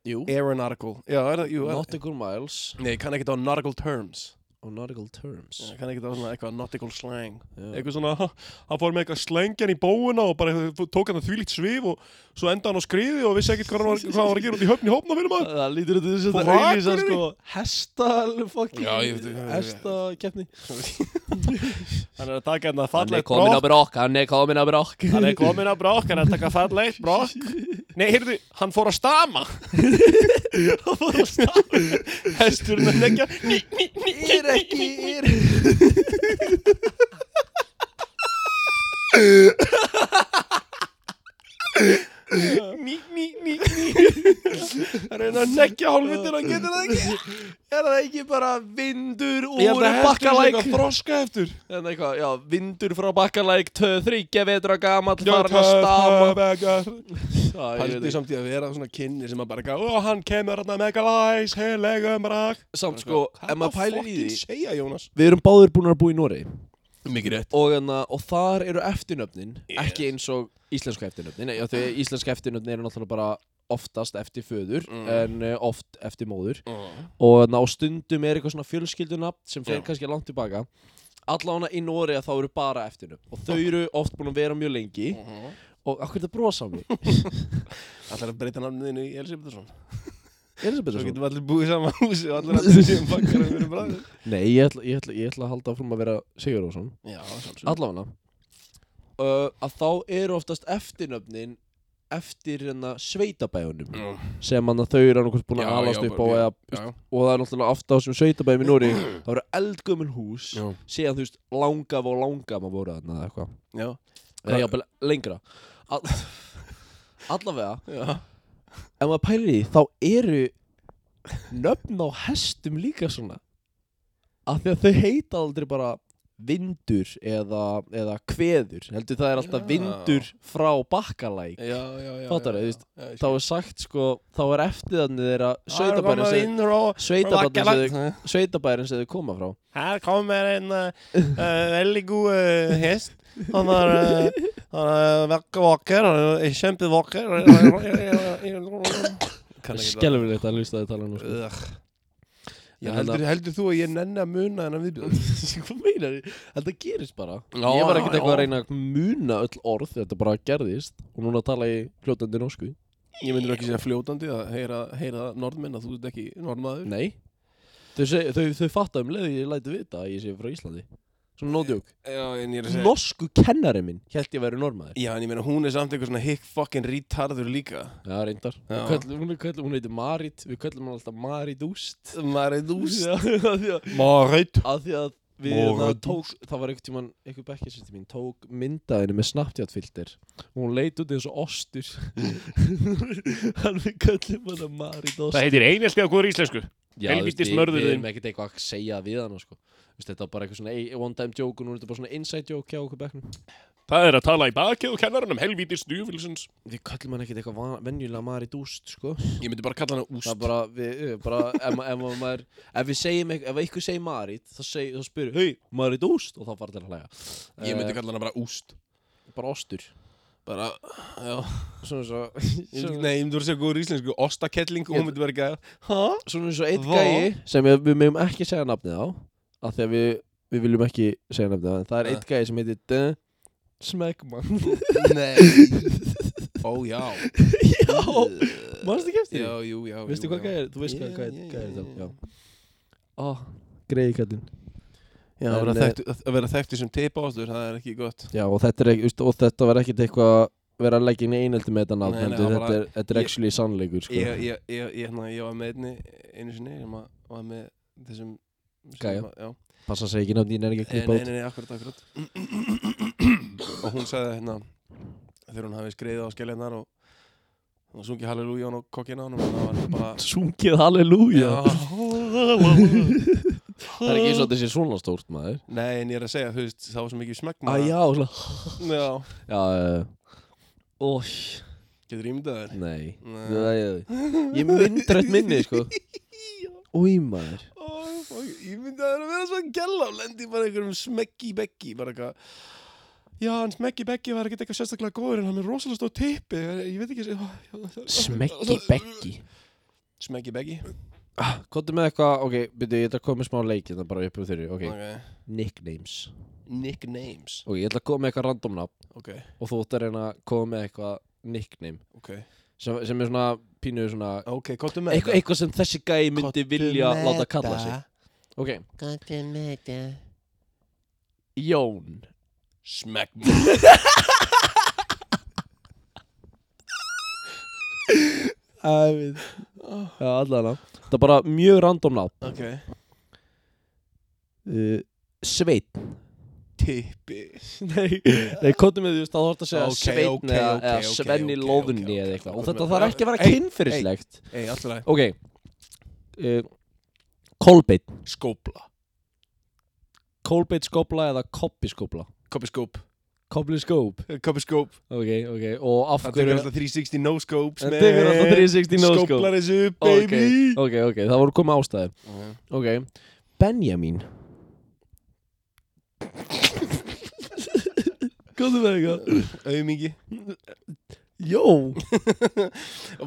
Jú,
Aeronautical Já, er það, jú er-
nautical miles
Nei, kann ekkert á nautical terms
Og nautical terms
Já, Kann ekkert á svona eitthvað nautical slang
Já.
Eitthvað svona, ha, hann fór með eitthvað slengjan í bóuna og bara tók hann að þvílíkt svif og svo enda hann á skriði og vissi ekkert hvað hann var, hvað hann var að gera út í höfn í hófna fyrir maður
Það lítur út í þess að
Frá
það auðvisa
Akureyri?
sko Hesta, fucking
Já, ég veit-
Hesta keppni
Hann er að taka hann að falla
brokk, hann er komin á brokk
Hann er komin á brokk, hann er að taka falleg brokk Nei, heyrðu, hann fór að stama Hann fór að stama Hesturinn að leggja Ný, ný, ný
er ekki er...
ný, ný, ný, ný Það reyna að negja hálfvitið hann getur það ekki
er það ekki bara vindur
Ég held
úr
að hesturinn sé
bakkalæk
eitthvað þroska eftir
en Hérna eitthvað, já, vindur frá bakkalæk töð þryggja vetra gamall farin að stama
Haldið
Já, ég veit ekki.
samt í að vera svona kynni sem að bara gá Og hann kemur hann að megalæs, heilegum rak
samt sko, ef maður pælir í því
segja, Jónas?
við erum báðir búin að búa í Nóri
Mikið rétt
og, enna, og
Ah.
þar eru eftirnöfnin ekki eins og íslensku eftirnöfnin já, því íslensku eftirnöfnin eru náttúrulega bara oftast eftir föður
Mm.
en uh, oft eftir móður
Mm.
og ná stundum er eitthvað svona fjölskyldunafn sem fer
Já.
kannski langt tilbaka allavega í Nóri að þá eru bara eftir nöfn og þau eru oft búin að vera mjög lengi
Mhm.
og akkur þetta brosa á mig
Allar að breyta nafniðinu í Elisabethsson Svo
Elisabeth
getum við allir búið í sama húsi og allir allir séum bakkar að vera bræður
Nei, ég ætla, ég, ætla, ég ætla að halda áfram að vera Sigur Rósson
Já, sjálfsög
Allavega uh, Að þá eru oftast eftirnöfnin Eftir hérna sveitabæjunum Sem hann að þau eru annað búin að
Já,
alast
já,
upp á
bara-
eða,
já, já.
Og það er náttúrulega oft á sem sveitabæjum í Nóri Það eru eldgömmul hús
Já.
Síðan þú veist langaf og langaf að voru þarna eða eitthvað
Já,
Eða jafnvel lengra All, Allavega
já
Ef maður pælir í því þá eru Nöfn á hestum líka svona Af því að þau heita aldrei bara Vindur eða, eða Kveður, heldur það er alltaf
Já.
vindur Frá bakkalæk
Já, já, já
Fattarðu, þú veist, Þá
Þá
er sagt sko, þá er eftirðanir þeirra Sveitabærin sem, sveitabærin sem,
Sveitabærin
þau- sveitabærinn sem þau koma frá
Her kommer en uh, veldig god uh, hest. Han er, uh, han er vak- vakker, han er kjempevakker.
Skelfilegt að hlusta þau tala nú sko.
Ugh. Já,
En
heldur, heldur þú að ég nenni að muna þennan viðbjöð?
Hvað meinar þið? Þetta gerist bara
Já,
Ég var ekkert
já,
eitthvað að
já.
reyna að muna öll orð Þetta bara gerðist Og núna tala ég fljótandi norsku
Ég myndir ekki segja fljótandi að heyra, heyra norðmenn að þú ert ekki norðmaður.
Nei Þau, seg, þau, þau fatta um leið og ég læti vita að ég sé frá Íslandi Svona nótjók
Já, en ég er
Norsku kennari minn Helt ég væri normaður
Já, en ég meina hún er samt eitthvað svona hick fucking retardur líka.
Já, reyndar
Já.
Við köllum- Hún, er köllum, hún heitir Marit Við köllum hann alltaf Marit Úst
Marit Úst.
Já, af því að-
Marit.
Af því að við það tók Það var einhvern tímann Einhver bekkjarsýtti mín Tók myndaðinu með snapptjáttfilter Og hún leit út eins og ostur Hann við köllum hann Marit Úst
Það heitir einelti að góður íslensku
Já, þú veist,
Helvítis
við-
mörðurinn.
Við erum ekkert eitthvað að segja við hann sko. Þú veist, Þetta var bara eitthvað svona ey, one time joke og nú er þetta bara svona inside joke hjá okkur bekknum
Það er að tala í bakið og kennarinn um helvítið stjúfilsins
Við kallum hann ekkert eitthvað van- venjulega maður í dúst sko.
Ég myndi bara kalla hana
Það er
Úst.
bara, við, eh, bara ef, ma- ef, ma- maður, ef við segjum eitthvað, ef eitthvað segir Marit þá, seg, þá spyrir, hei, maður í dúst og þá fara til að hlæja
Ég myndi
Eh,
kalla hana bara Úst.
Bara ostur
Bara, já.
Svona svo
Ég myndi-
Svona
Nei, ég myndi verið að segja góður íslensku, ostakettling og hún myndi verið að Hæ?
svona svo eitt
Vá.
gæi sem við, við meðum ekki segja nafnið á af því að við, við viljum ekki segja nafnið á en það er
Nei.
eitt gæi sem heitir D. Smegman
Nei Ó, já
Já, mannstu ekki eftir því?
Já, jú, já
Veistu
jú,
hvað
já.
gæði er? Þú veist
Já,
hvað gæði
já,
gæði
já,
er
já.
það? Já. Ó, greiði kallinn.
Já, að
En,
vera
eh,
þekktu- að vera þekktu sem teipástur, það er ekki gott
Já, og þetta, er, ekki- veist, og þetta var ekkert eitthvað vera að leggja inn í einelti með þetta nafn
Nei, nei,
heldur
það
þetta,
var
er, þetta er
ég-
actually sannleikur sko.
Ég, ég, ég, ég, hérna, ég var með einni einu sinni sem að- var með þessum sem
Gæja.
að- Já,
Passa að segja ekki nafn, ég er ekki að
nei,
klippa
nei,
út
nei, nei, akkurat, akkurat Og hún sagði hérna þegar hún hafi skreiðið á skeljarnar og og sungi halleluja á kokkina á honum og það var bara
Sungið halleluja
Já
Það er ekki eins og þetta sé svona stórt maður
Nei, en ég er að segja, þú veist, það var svo mikið smekk
Æ, já, svona
já
Já, eh, ó,
Getur ímyndað þér?
nei
Nei.
Það er- Ég myndrætt minni sko Új maður
Ó, fuck, Ímyndað þér að vera svona gæla og lendi bara einhverjum smekki beggi bara eitthvað Já, en smekki beggi var ekkert eitthvað sérstaklega góður en hann er rosalega stóð tippi Ég veit ekki ó, já,
Smekki Beggi
Smekki beggi
Kottu Ah, með eitthvað, ok, byrju, ég ætla að koma með smá leik Þetta bara upp úr þeirri, ok
okay.
Nicknames
Nicknames
Ok, ég ætla að koma með eitthvað random nafn
Ok,
Og þú ætti að reyna að koma með eitthvað nickname
ok
Sem, sem er svona pínu svona
Ok, komdu með
eitthvað, eitthvað sem þessi gæi myndi vilja láta kalla sig Ok,
Komdu með það.
Jón
Smekki
Æfið Já, allavega Það er bara mjög random nafn
Ok
uh, Sveinn
Tippi
Nei, nei, kottu með því, þú veist, þá þarf að segja
Ok,
Sveinn
ok,
eða,
ok,
eða
ok,
Svenni okay,
ok, ok,
Lóðunni
ok,
eða
ok.
eitthvað Og þetta þarf ekki að vera
Ey,
kynfyrirslegt
Ei, alltaf leið
Ok uh, Kolbeinn
Skópla
Kolbeinn skópla eða Koppi skópla
Copy scope
Koppi skóp
Copy scope
Ok, ok Og Eh, af
Það tekur
hverju
alltaf 360 no scopes
Það tekur alltaf 360 no scope
Skóplar þessu upp,
Ok,
baby
ok, ok Það voru komið ástæði
Ok.
Ok Benjamin Góðu með eitthvað
Aumingi
Jó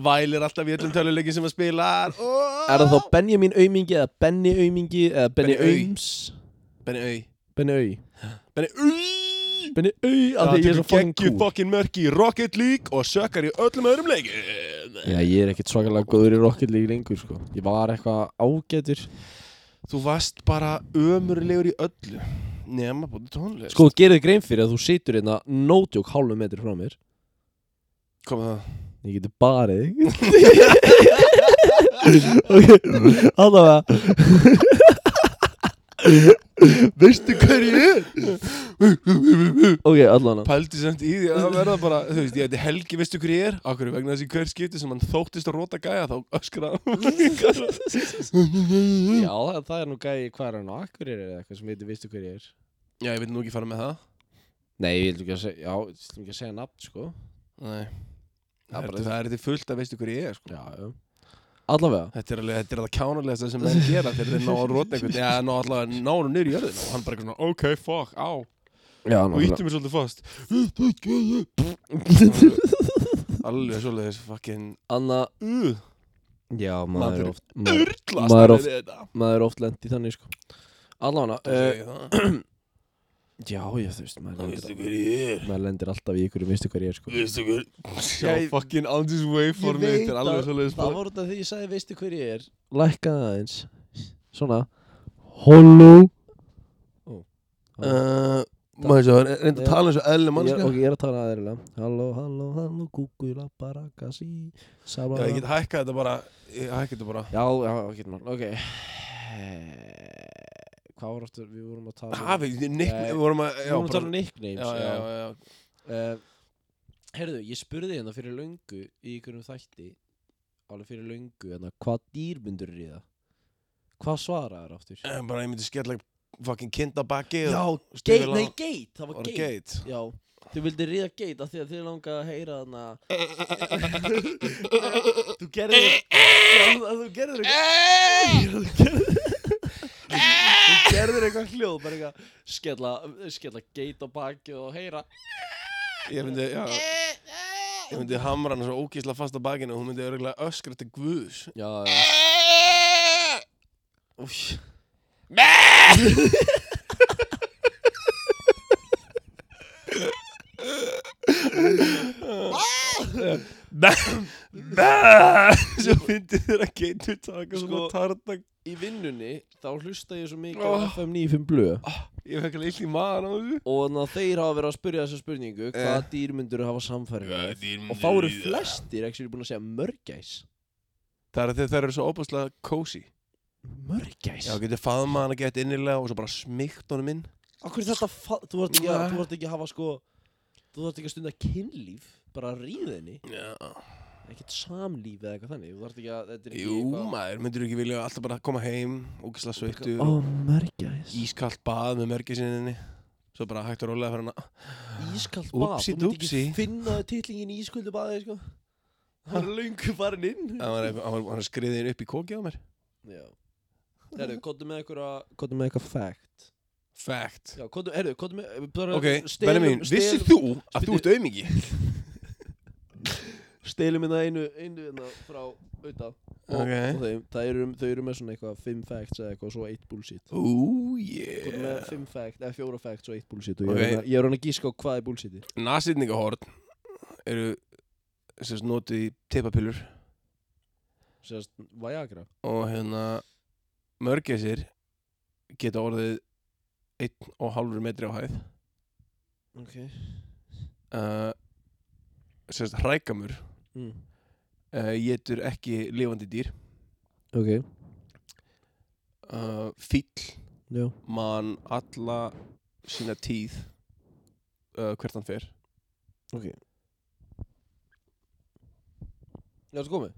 Vælir alltaf í öllum töluleikin sem að spila
Er það þá Benjamin Aumingi eða Benny Aumingi eða Benny
Benny Au.
Aums
Benni Au
Benny Au
Benni Au
Benny Au af því
Það
ég er
tekur
svo fucking
geggju
cool
fokkin mörk í Rocket League og sökkar í öllum öðrum leikum
Já, ég er ekkert svakalega góður í Rocket League lengur sko Ég var eitthvað ágætur
Þú varst bara ömurlegur í öllu Nefna búin tónlist
Sko, gerðu þér grein fyrir að þú situr hérna nótjók hálfum metri frá mér
Komið það
Ég geti barið þig. Ok, allavega
Veistu hverju er?
Ok, allavega
Pældi semt í því að verða bara Þú veist, ég heiti Helgi, veistu hverju er? Akkur vegna þessi hver skipti sem hann þóttist að róta gæja þá öskra
Já, það, það er nú gæði hvað er hann á Akureyri eða eitthvað sem heitir Vistu hver ég er
Já, ég vil nú ekki fara með það
Nei, ég vil ekki að segja, já, ég vil ekki að segja nafn sko
Nei
Það er bara-
Það er þetta fullt að veistu hverju ég er sko.
Já, já Allavega
Þetta er alveg, þetta er það kjánulegasta sem menn gera þegar þeir ná að róta einhvern Já, ná allavega ná hann niður í jörðin og hann bara eitthvað svona, ok, fuck, á
Já,
og ítti mér svolítið fast Alveg svolítið þessi fucking
Anna
uh,
Já,
Maður
maður
er
er oft Maður,
Urlast
Maður
er þetta
maður er oft lent í þannig sko Allavega
Þú
uh,
segir það.
Já, ég þú veist maður
Veistu
lendir,
hver ég er
maður lendir alltaf í ykkur Vistu hver ég er sko
Veistu hver Sjá
Ég-
fucking on this waveform
Ég veit
Þetta er alveg sko.
að-
svolítið
Það voru þetta því ég sagði Vistu hver ég er Lækkaði aðeins Svona Hollow
uh, Maður svo, reynda
Já.
að tala eins og eðli
Ég, er-
mannskja
ok, ég er að tala aðeins Halló, halló, halló, kúkula, barakasi Sama
Já, ég get hækkað þetta bara Ég hækka þetta bara
Já, já, ok, mál, ok Eh, Hvað var aftur, við vorum að tala um-
Hafi, nikk,
Nei.
við vorum að
Við
Já,
vorum að
bara-
tala um nicknames
já, já, já, já.
Eh, Heyrðu, ég spurði hérna fyrir löngu í einhverjum þætti alveg fyrir löngu, hérna, hvað dýr myndur ríða? Hvað svaraði þér aftur?
En Eh, Bara ég myndi skella fucking kindabakki
Já,
og
geit,
stígvél á-
nei, geit, það var
og
geit
geit
Já, þú vildi ríða geit af því að þið langaði að heyra þarna Þú gerðir Já, þú gerðir
Eh!
eitthvað Þú gerðir Þú gerðir eitthvað hljóð, bara eitthvað skella, skella geit á baki og heyra
Ég myndi, já Ég myndi hamra hana svo ógísla fast á bakinu og hún myndi örgulega öskra til guðs
Já, já Új
Svo myndi þeirra geitur taka
Sko-
svona tartak
í vinnunni þá hlusta ég svo mikið
Oh.
á FM 95 blöð
Ég fekk alveg illt í maður á þessu
og þannig að þeir hafa verið að spyrja þessa spurningu hvaða
Eh.
dýr myndur hafa samfærið með
Og
og þá eru flestir ekki búin að segja mörgæs
Það er þegar þær eru svo óbúslega cozy
mörgæs
Já, getur faðma hana gett innilega og svo bara smygt honum inn
okkur þetta fa- þú vart ekki, að-
Nei.
þú þarft ekki að hafa sko þú vart ekki að stunda kynlíf bara að ríðinni
Já
ekkert samlíf eða eitthvað þannig þú vart ekki að þetta er ekki
Jú, maður, myndir ekki vilja alltaf bara koma heim ógísla sveittu
ó mörgæs
Ískalt bað með mörgisinninni Svo bara hægt að rólega fyrir hana
ískalt bað
Upsi
þú myndi ekki
dupsi.
finna titlingin í ískuldu baði sko hann er löngu farin inn
Hann var- hann var- hann skriðin upp í kóki á mér
Já Herru, kóttu með eitthvað Kóttu með eitthvað fact
Fact
Já, kóttu, herru, kóttu með bara,
Ok, Benni mín, vissir þú að þú ert aumingi?
Stelum hérna einu, einu hérna frá auðvitað og,
Ok.
og þeim, það eru, þau eru með svona eitthvað Fimm facts eða eitthvað og svo eitt bullshit
Ú,
Kóttu með
yeah
fimm fact, eða fjóra facts og eitt bullshit Og ég
Ok.
er hérna- ég er hann að gíska á hvað er bullshiti
Nasýtningahorn eru sem sagt notuð í teipapillur
Sérst, Viagra
og hérna mörgæsir geta orðið einn og hálfur metri á hæð
Ok
uh, sem sagt hrækamur
mm.
uh, getur ekki lifandi dýr
Ok,
uh, fíll
já
man alla sína tíð uh, hvert hann fer
Já, það komið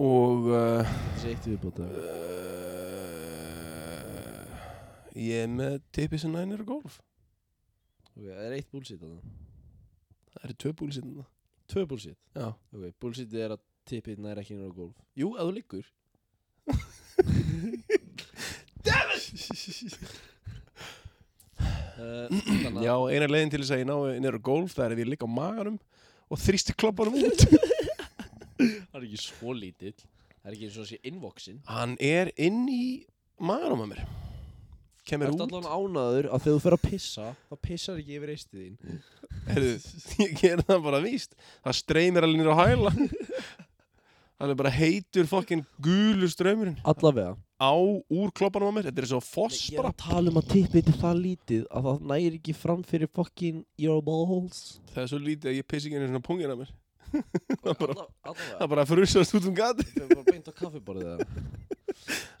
og uh,
Þessi eitt viðbóta
uh, ég er með tippi sem nænir og golf
Ok, það er eitt bullshit þarna
það eru tvö búli sinna
Tvö bullshit
Já.
Ok, bullshit er að tippið nær ekki nýra gólf
Jú, að þú liggur
uh, Eh,
Já, eina leiðin til þess að ég ná niður á golf það er ef ég ligg á maganum og þrýsti klappanum út
Það er ekki svo lítill Það er ekki eins og þessi invoxin
Hann er inn í maðurum að mér Kemur
Ertu
út
allan ánaður að þegar þú fer að pissa þá pissar ekki yfir eistið þín
Heyrðu, Ég ger það bara víst Það streymir alveg nýra á hæla Hann er bara heitur fokkin gulur ströymurinn
Allavega
Á úr kloppanum á mér Þetta er svo foss
Ég er
bara
að tala um að tippið er það lítið að það næri ekki fram fyrir fucking your balls
Það er svo lítið að ég pissi ekki einu svona pungin að mér Það er bara,
Alla-
það
Allavega
er bara að frusast út um gati
Þau bara beint á kaffiborðið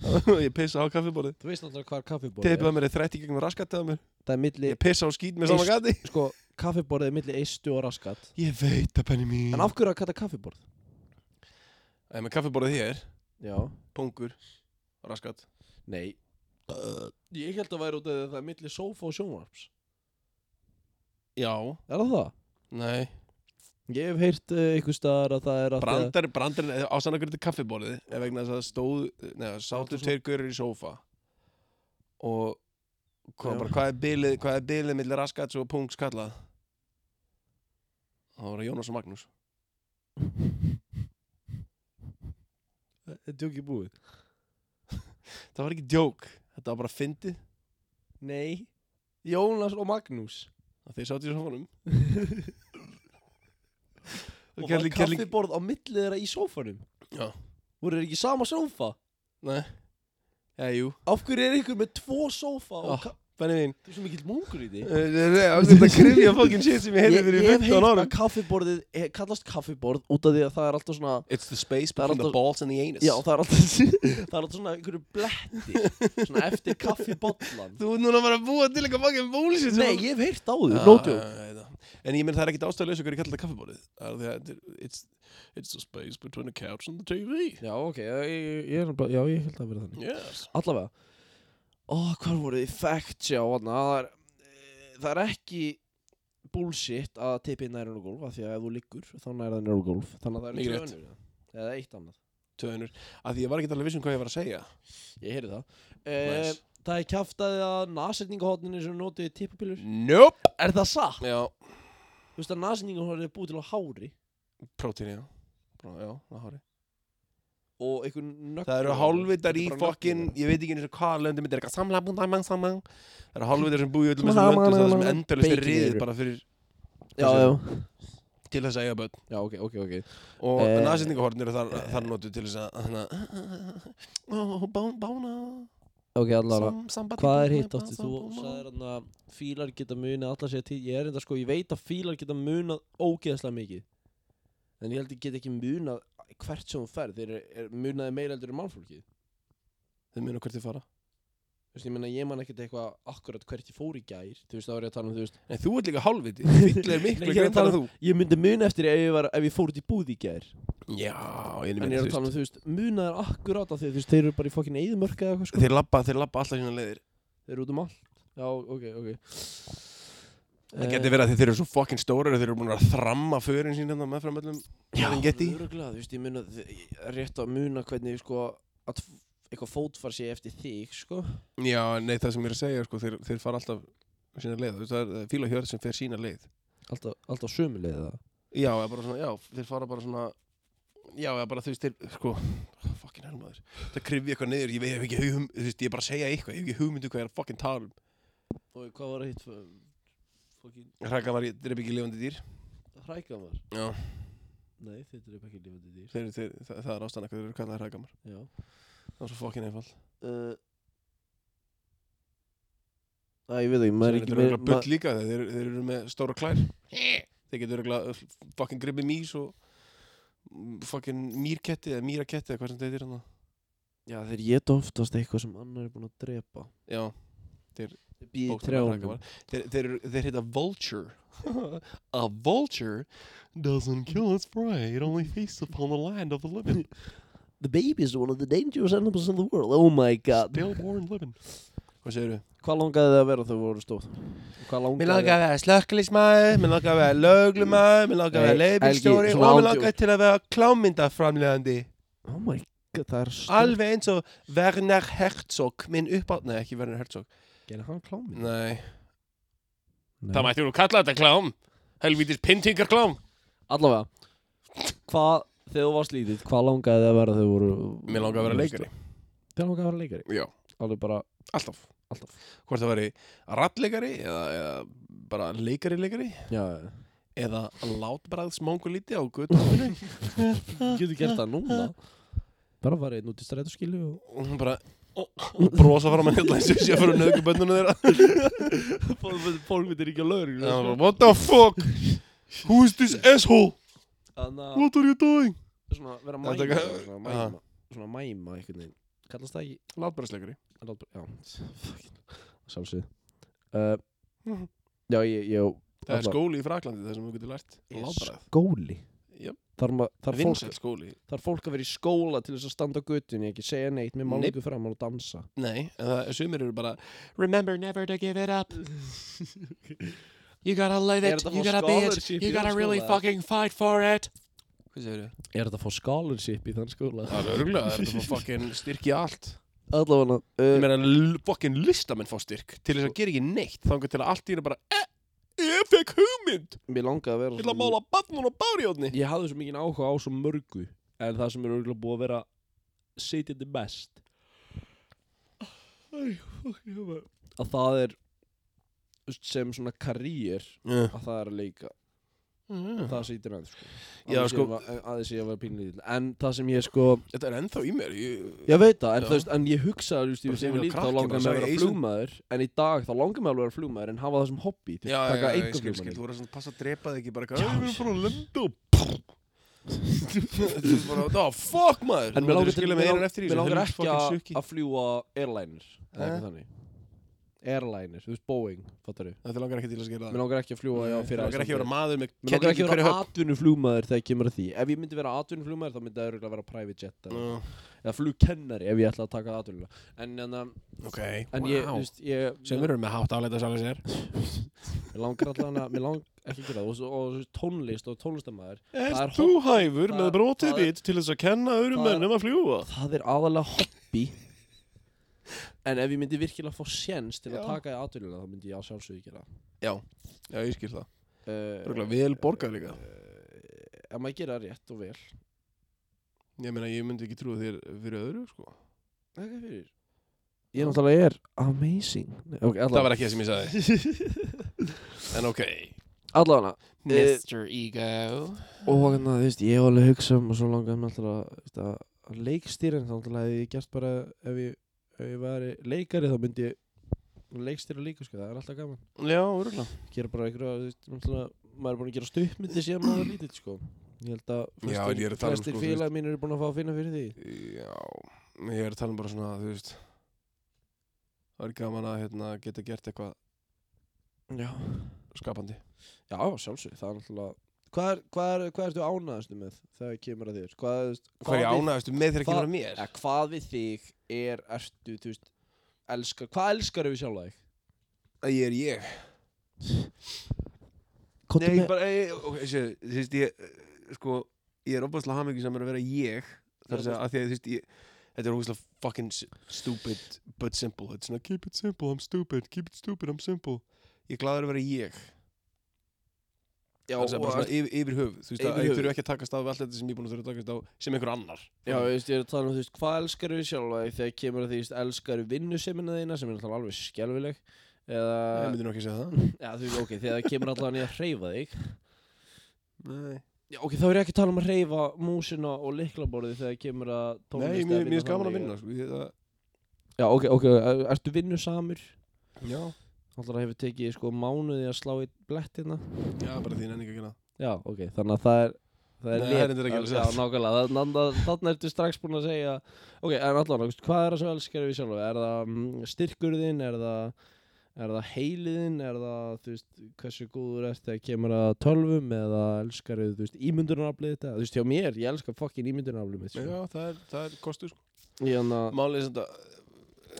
það
Ég pissa á kaffiborðið
Þú veist náttúrulega hvað kaffiborðið
Teipið
er
að mér er þrætt í gegnum raskatið að mér
Það er milli
Ég pissa á skít með sama
Eist-
gati
sko, kaffiborðið er milli eistu og raskat
Ég veit það penni mín
En af hverju að kalla kaffiborð?
En með kaffiborðið hér
Já
Pungur Raskat
Nei
Uh.
Ég held að væri út af því að það er milli sófa og sjónvarps
Já
Er það það?
Nei
Ég hef heyrt uh, einhver staðar að það er að
Brandar, brandar, ásannakur þetta kaffiborðið ef vegna þess að stóð, neða, sátu
Þetta er
tveir görur í sófa og kom
Já.
bara, hvað er bilið, hvað er bilið millir raskats og pungs kallað? Það voru Jónas og Magnús.
Þetta er ekki búið
Það var ekki djók, þetta var bara fyndið
Nei Jónas og Magnús
að þeir sátu í sófanum.
Og var
Gerli- gerli-
kaffiborð á milli þeirra í sófanum
Já.
Voru þeir ekki í sama sófa?
Nei, eða jú,
Af hverju er ykkur með tvo sófa
Já.
og ka-
benni mín.
Þú er svo mikill mungur í því
Eh, Nei, það er þetta krifja fokkin shit sem ég heyrði
Ég,
fyrir
ég hef
15
heyrt að
árum.
kaffiborðið eh, kallast kaffiborð út af því að það er alltaf svona
It's the space
Það er
between the
alltaf-
balls and the anus.
Já, það er alltaf, það er alltaf svona einhverju bletti Svona eftir kaffibollan
Þú er núna bara að búa til eitthvað fokkin bullshit. sem-
Nei, ég hef heyrt á því,
Já,
no joke
já, ég veit það. En ég menn það er ekkit ástæðulegs okkur ég kalla þetta kaffiborðið Það er því að þetta er- it's, it's the space between the couch and the TV
Já, ok, ég, ég, ég, er bara- já, ég held að vera þannig
Yes
Allavega Ó, hvað voru þið facts já, þarna það er, eh, það er ekki bullshit að tippa inn nærinu gólf af því að ef þú liggur þá nærið það nærinu gólf þannig að það
Mikið
eru tvö
rétt.
önnur eða? eða eitt annað
Tönur Af því ég var ekkit alveg viss um hvað ég var að segja
ég heyri það e,
Ehm,
það er kjaftaði að nasetningahotninu sem notið tippapillur
Nope
er það satt?
Já
þú veist að nasetningahotninu er búið til á hári
Prótín, já Brá, Já, það hári
og einhver nögg
Það eru hálfvitar í fokkin Ég veit ekki eins og hvað löndum Þetta er eitthvað samla búin dæmang saman Það eru hálfvitar sem búið í öllum þessum löndum Það er sem endalist er
Bacon
riðið
eru.
bara fyrir
já, já,
Til þess að eiga börn
já, ok, ok, ok
Og
Eh.
uh, nasetningahornir þar, þar notu til þess að Þannig að Ó, bá- Bána
ok, allavega
sam- sambandi-
Hvað er hitt átti? Þú
sambandi-
sagðir hann að fílar geta munið allar sér til Ég er enda sko, ég veit að fílar geta munað ógeðslega mikið En ég held ég get ekki munað hvert sem hún fer Þeir er, er munaði meira heldur en mannfólkið Þú
Þau munu hvert þið fara
veist, ég meina, ég man ekkert eitthvað akkurat hvert ég fór í gær Þú veist, þá er ég að tala um, þú veist
Nei, þú ert líka hálfviti Fyll er
Nei,
miklu
ég er að
grindar
tala um-
en þú
Ég myndi muna eftir ef ég, var, ef ég fór út í búð í gær
Já, ég
En ég er að tala um, þú veist, munaði akkurat af því Þú veist, þeir eru bara í fokkin eðumörka eða eitthvað sko
Þeir labba, þeir labba alltaf sína leiðir
Þeir eru út um allt Já, ok, ok Eh,
Það geti verið að þeir eru svo fucking stórar og Þeir eru búin að þramma förin sín hérna meðfram öllum Serengeti.
örgulega, þú veist, ég muna ég er rétt að muna hvernig, sko að f- eitthvað fótfar sé eftir þig, sko
Já, nei, það sem ég er að segja sko, þeir, þeir fara alltaf sína leið Þú veist, Það er það er fíl og hjörð sem fer sína leið
Alltaf, alltaf sömulegið það
Já, eða bara svona, já, þeir fara bara svona Já, eða bara þú veist, þeir, sko Fucking helmaður Það krifja eitthvað niður, ég veit ég hef ekki hugum Þú veist, ég er bara að segja eitthvað, ég hef ekki hugmyndu hvað ég er að fucking tala um
Og hvað var hitt Fokkin
Hrækka var, ég dref ekki lifandi dýr
hrækamar
Já,
Nei, þetta er ekki lífandi dýr
þeir, þeir, það, það er ástæðan eitthvað, þeir eru kallað hrækka
Já
Það var svo fokkin einfald
uh, Æ, ég veit ekki, maður er
Þeir
ekki meir
eru örugglega bull
maður-
líka þeir, eru- þeir eru með stóra klær Þeir getur örugglega fokkin gripið mís og fokkin mýrketti eða mýraketti eða hvað sem þetta heitir hérna. hann
Já, þeir geta oftast eitthvað sem annar er búin að drepa
Já,
Þeir býði í
bókstaflega
trjánum
hrækkamar. þeir, þeir, eru- þeir heita vulture A vulture doesn't kill its prey It only feasts upon the land of the living
The babies are one of the dangerous animals in the world Oh my god
Stillborn living Hvað segirðu?
Hvað langaði þið að vera þau voru stóð? Hvað langaði
að vera slökkulismæður, mér langaði að vera löglumæður, mér
að vera Nei, leigubílstjóri Helgi, svona og mig ándjók. langaði
til að vera klámyndaframlegandi.
Oh my god, það er stóð
Alveg eins og Werner Herzog, minn uppátt... Nei, ekki Werner Herzog.
Gerði hann klámið?
Nei.
Það mætti nú kalla þetta klám Helvítis pyntingarklám
Allavega Hvað, þegar þú varst lítill, hvað langaði þið að vera þegar þú voru
Mér langaði að vera leikari.
Þið langaði að vera leikari
Já.
Alveg bara
Alltaf
Alltaf.
Hvort það væri rappleikari eða, eða bara leikari leikari
Já, já.
eða látbræðs mongolíti á guttunum
getur gert það núna Bara að fara einn út í strætóskilu og
og hún bara og brosa fram að hérna eins og sé að fyrir nöðgu bönnuna þeirra
Fólk myndir ekki sko. að
Og hún bara,
lögur
What the fuck? Who is this asshole?
Þannig að
What are you doing?
svona vera mæma
Þetta
eitthvað,
kann-
svona
Aha.
mæma, svona mæma einhvern veginn kallast það ekki
Látbræðsleikari
lát bara- já, fucking sjálfsögð uh, já, ég, ég
Það er
Alla-
skóli í Fraklandi þar sem þú getur lært látbræð
skóli
Jöp.
þar, ma- þar,
Vinsæl
fólk,
skóli
þar fólk að vera í skóla til þess að standa á göttunni ekki segja neitt með
Nei.
málningu fram og dansa
Nei, en það er sumir eru bara Remember never to give it up You gotta live
Er
it,
þetta
you
frá
gotta be it
scholarship í
You gotta
þann
really
skóla?
fucking fight for it Hvað segir þau?
er þetta að fá scholarship í þann skóla
Það er örgulega, það er þetta fucking styrki allt
allavega uh,
Ég meina, l- fucking listamenn fá styrk Til þess að gera ekki neitt Þangar til að allt í hérna bara eh, Ég fekk hugmynd
mér langaði að vera
Ég ætla að
svo-
mála batnun og bárjóðni
ég hafði svo mikið áhuga á svo mörgu en það sem er örgulega búið að vera sitjandi best að það er þú veist, sem svona karýr
Já,
að það er að leika það sýtir aðeins sko.
Já,
Aðeins
sko-
ég var- aðeins ég var pínlítill en það sem ég sko
Þetta er ennþá í mér ég-
ég veit það en,
Já.
þú veist, en ég hugsa just, ég
Bara
sem
þegar ég
lít,
var
þá
krakki,
langar mig
bara
að
sagði
vera
Eysen-
flugmaður en í dag þá langar mig alveg að vera flugmaður en hafa það sem hobby til
Já, já, já,
taka
ég skil, skil, þú
einhverjum
voru svona passa að drepa þig ekki bara
Já,
Já, við erum bara að lenda og Þetta er bara, "Ah, fuck maður
en mér langar til-
skilja
mig
mig einan
lang-
eftir í
mig
þessu,
langar
helvítis
ekki
fucking
að-
sjukki.
að fljúa airliner það er
Eh?
ekki þannig airliner þú veist Boeing fattar við
Þetta langar ekki til að skilja
mér langar ekki að fljúa já,
það Mér
fyrir
langar ekki
Icelandair.
að vera maður með
Mig langar ekki að
kerlingu í
vera
hverju höfn.
atvinnuflugmaður þegar kemur að því ef ég myndi vera atvinnuflugmaður þá myndi það örugglega vera private jet eða,
Já,
eða flugkennari ef ég ætla að taka atvinnulega en, en, en,
Ok,
en ég, þú
wow
veist, ég
Sem eru með hátt áleita sálega sér
Mér langar allan að, mér langar ekki að gera það og, svo- og svo tónlist og tónlistamæður Það er
Erst þú hæfur
það-
með brotið
það er-
þitt til þess að kenna öðrum
það er-
mennum að fljúa?
það er aðalega hobby en ef ég myndi virkilega fá séns til
Já.
að taka í atvinnulega þá myndi ég að sjálfsögðu gera
Já, ég skil það.
það
Rúkla, vel borgað líka.
uh, ef maður gera það rétt og vel
Ég meina, ég myndi ekki trúa þér fyrir öðru, sko.
Þakka fyrir Ég náttúrulega er amazing okay,
Það var ekki það sem ég sagði. En ok.
Allavega
Mr. Ego.
Og hérna, þú veist, ég var alveg að hugsa um og svo langaði mér alltaf að, þú veist, að- að leikstýra en þannig að ég gert bara ef ég, ef ég væri leikari þá myndi ég leikstýra líka, sko, það er alltaf gaman
Já, rúkla.
Gera bara einhverja, þú veist, náttúrulega maður er búin að gera stuppmyndi síðan maður var lítill, sko Ég held að
Já, en ég er að tala um,
flestir
sko, þú veist-
félag mínir eru búin að fá að finna fyrir því
Já, ég er að tala um bara svona, þú veist. Það er gaman að hérna, geta gert eitthvað
Já,
skapandi.
Já, sjálfsög, það er náttúrulega Hvað, er, hvað, er, hvað ertu ánæðastu með þegar kemur að þér? Hvað, þú veist,
Hvað er ég
við-
ánægðastu með þegar ekki
hvað-
vera mér?
Ja, hvað við þig er, ertu, þú veist, elskar, hvað elskar við sjálf þig?
Að ég er ég.
Kottu
Nei, ég bara, ég, ok, sé, þú veist, ég, eh, sko, ég er opaslega hamingi saman að vera ég, þar að segja, að því að, þú veist, ég, þetta er ógustlega fucking s- stupid, but simple, þetta er svona, keep it simple, I'm stupid, keep it stupid, I'm simple, ég er gladur að vera ég,
já,
þar að segja, bara svona, yfir, yfir höfuð, þú veist,
Yfir
að ég
höfuð.
þurfi ekki að takast á við allt þetta sem ég er búin að þurfa að takast á, sem einhver annar,
já, þú veist, ég er að tala um, þú veist, hvað elskar við sjálf þig þegar kemur að því, þú veist, elskar við vinnusemina þína sem er náttúrulega alveg skelfileg
ég
eða,
myndi nú ekki segja það,
já, þú veist, ok, þegar það kemur allavega nýja að hreyfa þig
nei,
Já, ok, þá er ég ekki að tala um að hreyfa músina og liklaborði þegar kemur að tónlist
nei,
eða
mér mér
vinna
finnst gaman
þannig.
að vinna, sko, ég, það,
Já, ok, ok, er- ertu vinnusamur?
já,
Alltaf hefur tekið sko mánuði að slá í blettina
já, bara því nenni ekki að gera það.
Já, ok, þannig að það er Það er
Nei,
lét-
það er reyndar ekki alveg
Já,
satt.
nákvæmlega, þannig ertu strax búin að segja Ok, en allan, veist, hvað er það sem elskar við sjálf? Er það mm, styrkurðin, er það Er það heiliðin, er það, þú veist, hversu góður ert þegar kemur að tölvum eða elskar við, þú veist, ímyndunaraflið þetta? Þú veist, hjá mér, ég elskar fokkin ímyndunaraflið mitt, sko.
já, það er, það er kostur, sko,
Ég hérna- hann að,
málið er sem þetta,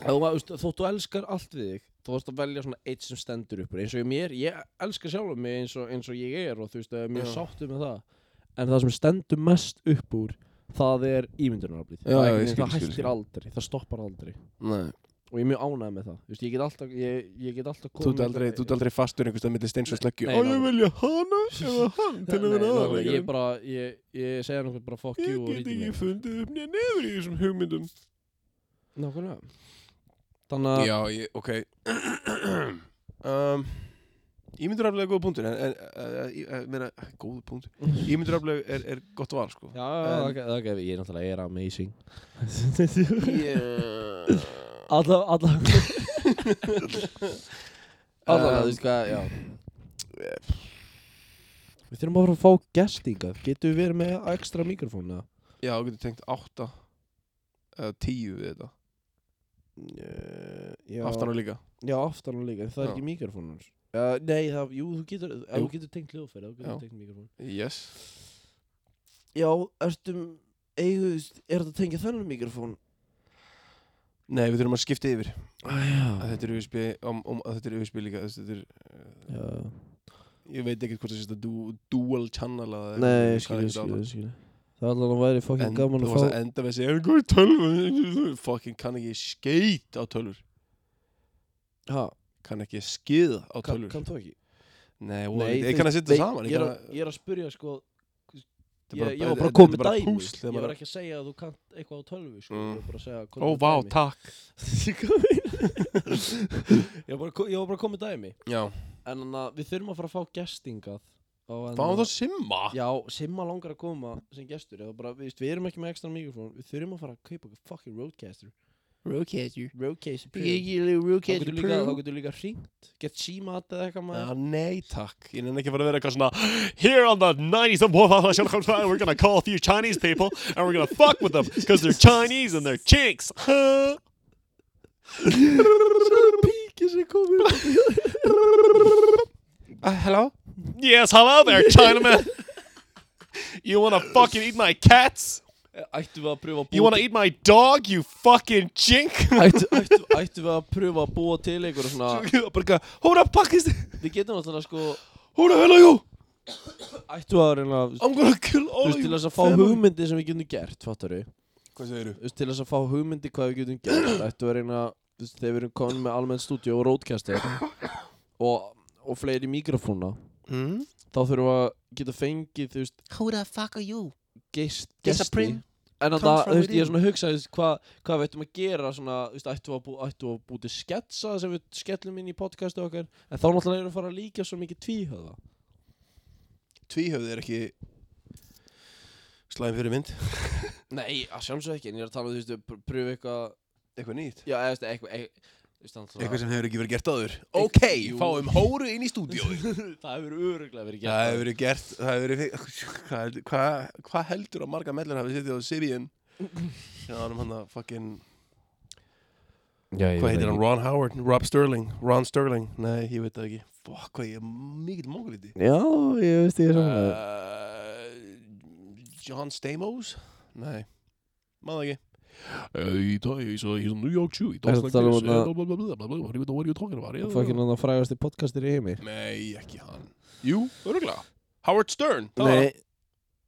Þú veist, þótt þú elskar allt við þig Þú veist að velja svona eitt sem stendur upp úr. eins og ég mér, ég elskar sjálfur mig eins og, eins og ég er og þú veist, ég er mjög
Já.
sáttur með það en það sem stendur mest upp úr það er ímyndunaraflið
Já,
það,
já,
einhvern
ég
veginn-
skil,
það
skil,
hættir aldrei, það stoppar aldrei
nei,
og ég er mjög ánægð með það Þú veist, ég get alltaf, ég, ég get alltaf
Þú ert aldrei, þú ert aldrei fastur einhverstað millir steins og sleggju
Nei,
Ó, ég
nákvæmlega.
velja hana eða hann til að
Nei,
vera
nákvæmlega, Ég
aðalega
bara, ég, ég segja nákvæmlega bara fuck you
Ég
og
get
ríti
ekki
mig
fundið upp nýja nefur í þessum hugmyndum
Nákvæmlega Þannig að,
Já, ég, ok um, Ég myndur aflega góð punktur en, en, en, en, meina, góð punktur Ég myndur aflega er, er gott val, sko
já, já,
En-
það gef- það gef ég er náttúrulega, ég er amazing
yeah.
Alla, alla Alla,
Um,
þú veist hvað, já Við þurfum bara að fá gestinga Getum við verið með ekstra mikrofón eða?
Já, þú getur tengt átta eða tíu við þetta
Eh, Já,
Aftan á líka
Já, aftan á líka, en það er
Já.
ekki mikrofónur uh, Nei, það, jú, þú getur ef
Jú.
Þú getur tengt hljóðfæri, þú
Já.
getur tengt mikrofón
Yes
Já, ertum Eigu, er þetta tengja þennan mikrofón?
Nei, við þurfum að skipta yfir
Ah,
að þetta er USB, um, um, að þetta er USB líka þess, þetta er, eh,
já Já
ég veit ekkert hvort það sést að du, dual channel eða eitthvað, ég kann
Nei,
ekkert
skilju,
á það.
skilju, skilju Það er alveg að væri
En
fokkin gaman
þú
að
varst að
fá
enda með að segja, hvað er tölvur? Fucking kann ekki skeit á tölvur.
Ha,
Kann ekki skiða á
kann
tölvur.
kann þú ekki?
Nei,
Nei,
Nei
þú
ég kann að
veist,
setja
nei,
saman.
Ég er
kann
að- ég er að spurja, sko
þetta er
Ég, ég var bara að
þetta- þetta er
koma með
bara
dæmi
púsl,
Ég
þegar
var
maður-
ekki að segja að þú kannt eitthvað á tölvu sko.
Mm.
Ég var bara að segja
Ó, vá, takk.
takk Ég var bara að- ég var bara að koma með dæmi
Já,
En þannig að við þurfum að fara að fá gestingað
fáum það simma.
Já, Simma langar að koma sem gestur eða bara, við, veist, við erum ekki með ekstra mikrofón Við þurfum að fara að kaupa okkur fucking roadcaster
Roadcaster.
Roadcaster Pro Þá
Roadcaster
getur líka, þá getur líka hringt Get símat eða eitthvað maður
Já, nei, takk. Ég nefn ekki að fara að vera
er
eitthvað svona,
Here on the 90s of Waffle House, we're gonna call a few Chinese people and we're gonna fuck with them because they're Chinese and they're chinks. Huh?
Píki sem komið
uh, hello?
Yes, hello there, Chinaman. You wanna fucking eat my cats?
Eh, Ættum við að pröfa að
You wanna
búa
eat my dog, you fucking chink?
ættu, ættu, ættu við að pröfa að búa til einhverja
Uh.
svona
Bara eitthvað, hóra pakkist,
Við getum náttúrulega sko
hóra hello you,
ættu að reyna þú
I'm gonna kill all
veist,
of
til
you.
þess að fá hugmyndi sem við getum gert fattar við,
Hvað segir þú?
þú veist, til þess að fá hugmyndi hvað við getum gert ættu að reyna, þú veist, þegar við erum komin með almenn stúdíu og roadcaster og, og fleiri mikrofóna
Mm?
þá þurfum við að geta fengið þú veist,
Who the fuck are you?
geist,
Yes, a
gesti
prim-
en að
comes
það,
from
þú veist, ég
within.
er svona að hugsa þú veist, hvað hvað við ættum að gera svona, þú veist, ættum við að, bú, ættum við að búti sketsa sem við skellum inn í podcastu okkar en þá náttúrulega erum við að fara að líka svo mikið tvíhöða
Tvíhöfði er ekki slæm fyrir mynd.
nei, að sjálfsög ekki, en ég er að tala um, þú veist, pr- pröfu eitthvað
Eitthvað nýtt.
já, eða, þú veist, eitthvað eitthvað, þú veist, náttúrulega-
Eitthvað sem hefur ekki verið gert áður. Ok,
jú.
fáum hóru inn í stúdíói.
það hefur öruglega verið
Það hefur
gert
verið gert, það hefur verið, hvað heldur- hvað hva heldur að marga mellur hafi setið á Sirian? Já, um hann hann að fucking,
Já, ég
hvað
veit
heitir
ekki.
hann, Ron Howard, Rob Sterling, Ron Sterling, nei, ég veit það ekki. Fuck, hvað ég er mikill mongolíti.
Já, ég veist ég er
Ah,
saman uh,
Uh, John Stamos? Nei, maður ekki.
Hey, he's a, he's a New York Jew. He
That's
talks like this.
the one that-
Uh, blah, blah, blah, blah, blah, blah. What are you- what are you talking about? Yeah,
það Fokkin hann að frægast í podcastir í heimi
Nei, ekki hann. Jú, öruglega. Howard Stern, það var hann.
Nei,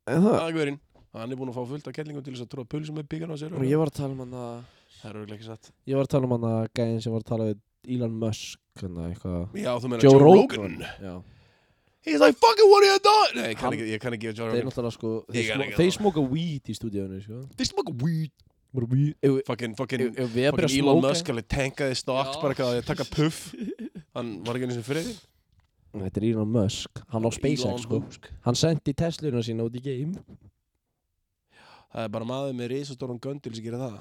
en það
Það er gaurinn. Hann er búinn að fá fullt af kellingum til þess að tróða pulsum með byggarna á sér.
Og ég var að tala um hann að
Það er öruglega ekki satt.
Ég var að tala um hann að gæðin sem var að tala við Elon Musk hann eitthvað
Já, þú meina
Joe, Rogan, Já,
He's like, fucking what are you doing? Nei, ég kann
Hann-
ekki, ég kann ekki að Joe
þeir
Rogan.
náttúrulega sko
Ég
Þeir,
kann
smó,
ekki
þeir
það.
smóka weed í stúdíunni sko
Þeir smaka weed.
Bara weed Ef
Fucking, fucking,
ef- ef við erum að
fucking
byrja
Elon
að
Musk
smóka
alveg tankaði stokkt bara eitthvað að ég taka puff. Hann var ekki einu sem fyrir þig.
Þetta er Elon Musk Hann á SpaceX sko
Musk.
Hann sendi Tesluna sína út í game
Það er bara maður með risastóran göndil sem gerir það.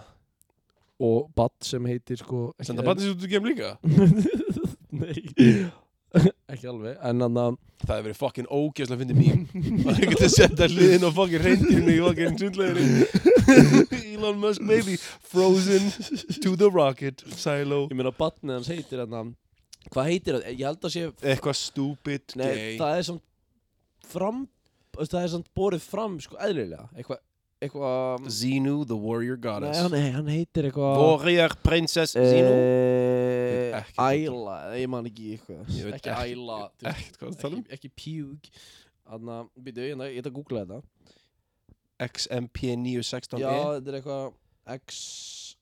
Og badd sem heitir sko
Senda batnið sér út í geim líka.
Nei Ekki alveg En hann að
Það hefur verið fucking ógeðslega fyndið mím. Það er ekkert að setja hliðin og fucking reyndirinn í fucking sundleginu. Elon Musk baby, frozen to the rocket, silo.
Ég meina badnið hans heitir hann að Hvað heitir það? Ég held að sé
Eitthvað stupid
Nei,
gay.
það er samt fram þú veist, Það er samt borið fram sko eðlilega Eitthvað eitthva,
Zenu, the warrior
Nei,
goddess.
hann, er- Eh, nei, hann heitir eitthvað
Warrior princess Zenu. Ég veit
Eh,
ekki hvað það-
Æla, ég man ekki eitthvað
Ég veit
Ekki
ekki-
æla þú veist,
Ekkert hvað það tala um.
Ekki, ekki pjúk Þannig að, býtu, ég hérna, ég ætla að googla þetta Já,
XMP916E
þetta er eitthvað X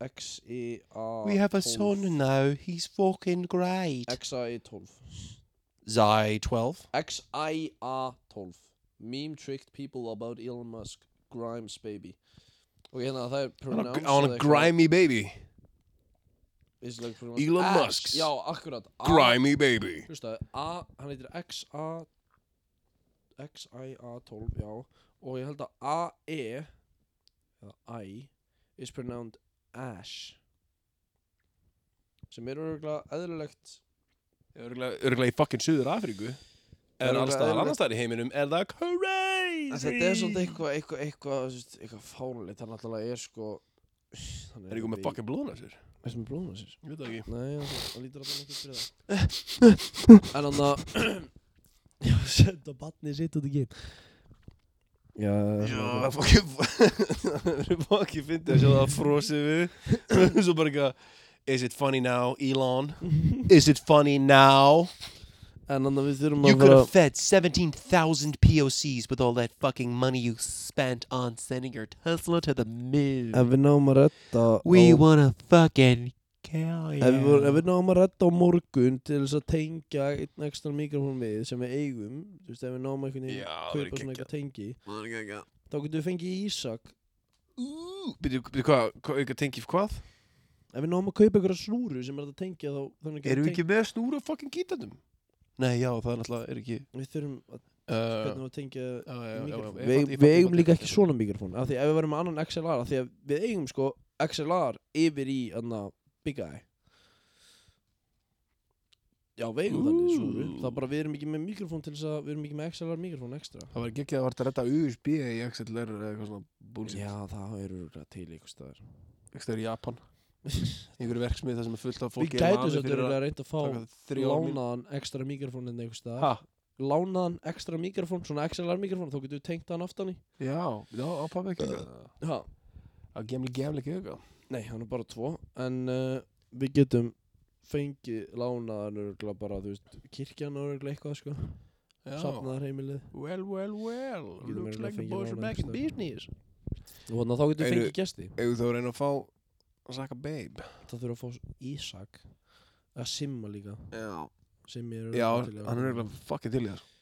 E XIA
We have a son now, he's fucking great.
XIA 12
Zai 12.
XIA 12 Meme tricked people about Elon Musk Grimes baby Ok, hérna það er
I want
pronounced
a- I want
eða
a
eitthvað.
grimy baby.
It's like pronounced
Elon
X.
Musk's
Já, akkurat A-
Grimy baby.
Hlustaðu, A, hann heitir XA XIA12, já og ég held að AE eða I is pronounced Ash sem er örgulega eðlilegt
Örgulega í fucking Suður Afríku. Er
Örugglega
alls staðar
eðlilegt.
annars staðar í heiminum. Er það crazy?
en þetta er svolítið eitthvað eitthvað, eitthvað, þú veist, eitthvað fálitt, hann náttúrulega er sko hann
Er eitthvað með fucking blóðna sér?
er sem blóðum sér
Ég veit það ekki.
Nei, hann hann lítur alltaf ekki fyrir það En hann að Já, senda batni sitt út í geim Já,
Það er fucking... Það er fucking fyndið að sjá það frosið við. Svo bara eitthvað... Is it funny now, Elon? Is it funny now?
En hann að við þurfum
You
að
could
fara
have fed 17,000 POCs with all that fucking money you spent on sending your Tesla to the moon.
Ef við náum að redda
We
á,
wanna fucking kill you.
ef, við, vorum- ef við náum að redda á morgun Til þess að tengja einn ekstra mikrofón við Sem við eigum Þú veist, ef við náum einhvern veginn
Já,
að
það er
Kaupa svona
geggjað.
eitthvað tengi
Það er ekki ekki.
Þá getum við fengið Ísak
Byrju, byrju, hvað? Hvað, eitthvað tengi hvað?
Ef við náum að kaupa einhverja snúru sem er hægt að tengja þá Þannig að
Erum við ekki með snúra fucking gítarnum? Nei, já, það er náttúrulega, er ekki...
Við þurfum að,
Uh,
hvernig að tengja
já, já, já, já,
mikrofón.
ég
Við,
fatt-
við
ég fatt- ég
eigum
fatt-
líka
ég
ekki
fatt-
svona mikrofón af því ef við verðum með annan XLR af því að við eigum sko XLR yfir í anna, Big Eye Já, við eigum þannig svona Það er bara við erum ekki með mikrofón til þess að við erum ekki með XLR mikrofón ekstra
Það var ekki að varta að redda USB í XLR eða eitthvað svona búlsýtt.
Já, það er örugglega til í einhvers staðar
XLR í Japan. Einhverju verksmið það sem er fullt af
Við
fólki.
gætum svo örugglega reynd að fá
Lána.
lánaðan ekstra mikrofón en einhvers staðar
Ha?
Lánaðan ekstra mikrofón, svona XLR mikrofón þá getum við tengt hann aftan í
Já, já, á pappi ekki. eitthvað.
ha.
Á gemli, gemli ekki eitthvað.
Nei, hann er bara tvo En uh, við getum fengið lánaðan örgulega bara, þú veist, kirkjan og örgulega eitthvað, sko
Já.
Safnaðar heimilið
Well, well, well.
Getum örugglega fengið lánaðan einhvers
business.
Og þannig að þá getum við
Eru-
fengið gesti
Ef þú reyna að fá að saka babe.
Það þurfum að fá s- Ísak Að simma líka
Já.
Simmi er
Já,
örugglega til í að-
hann er eitthvað fucking til í það. sko.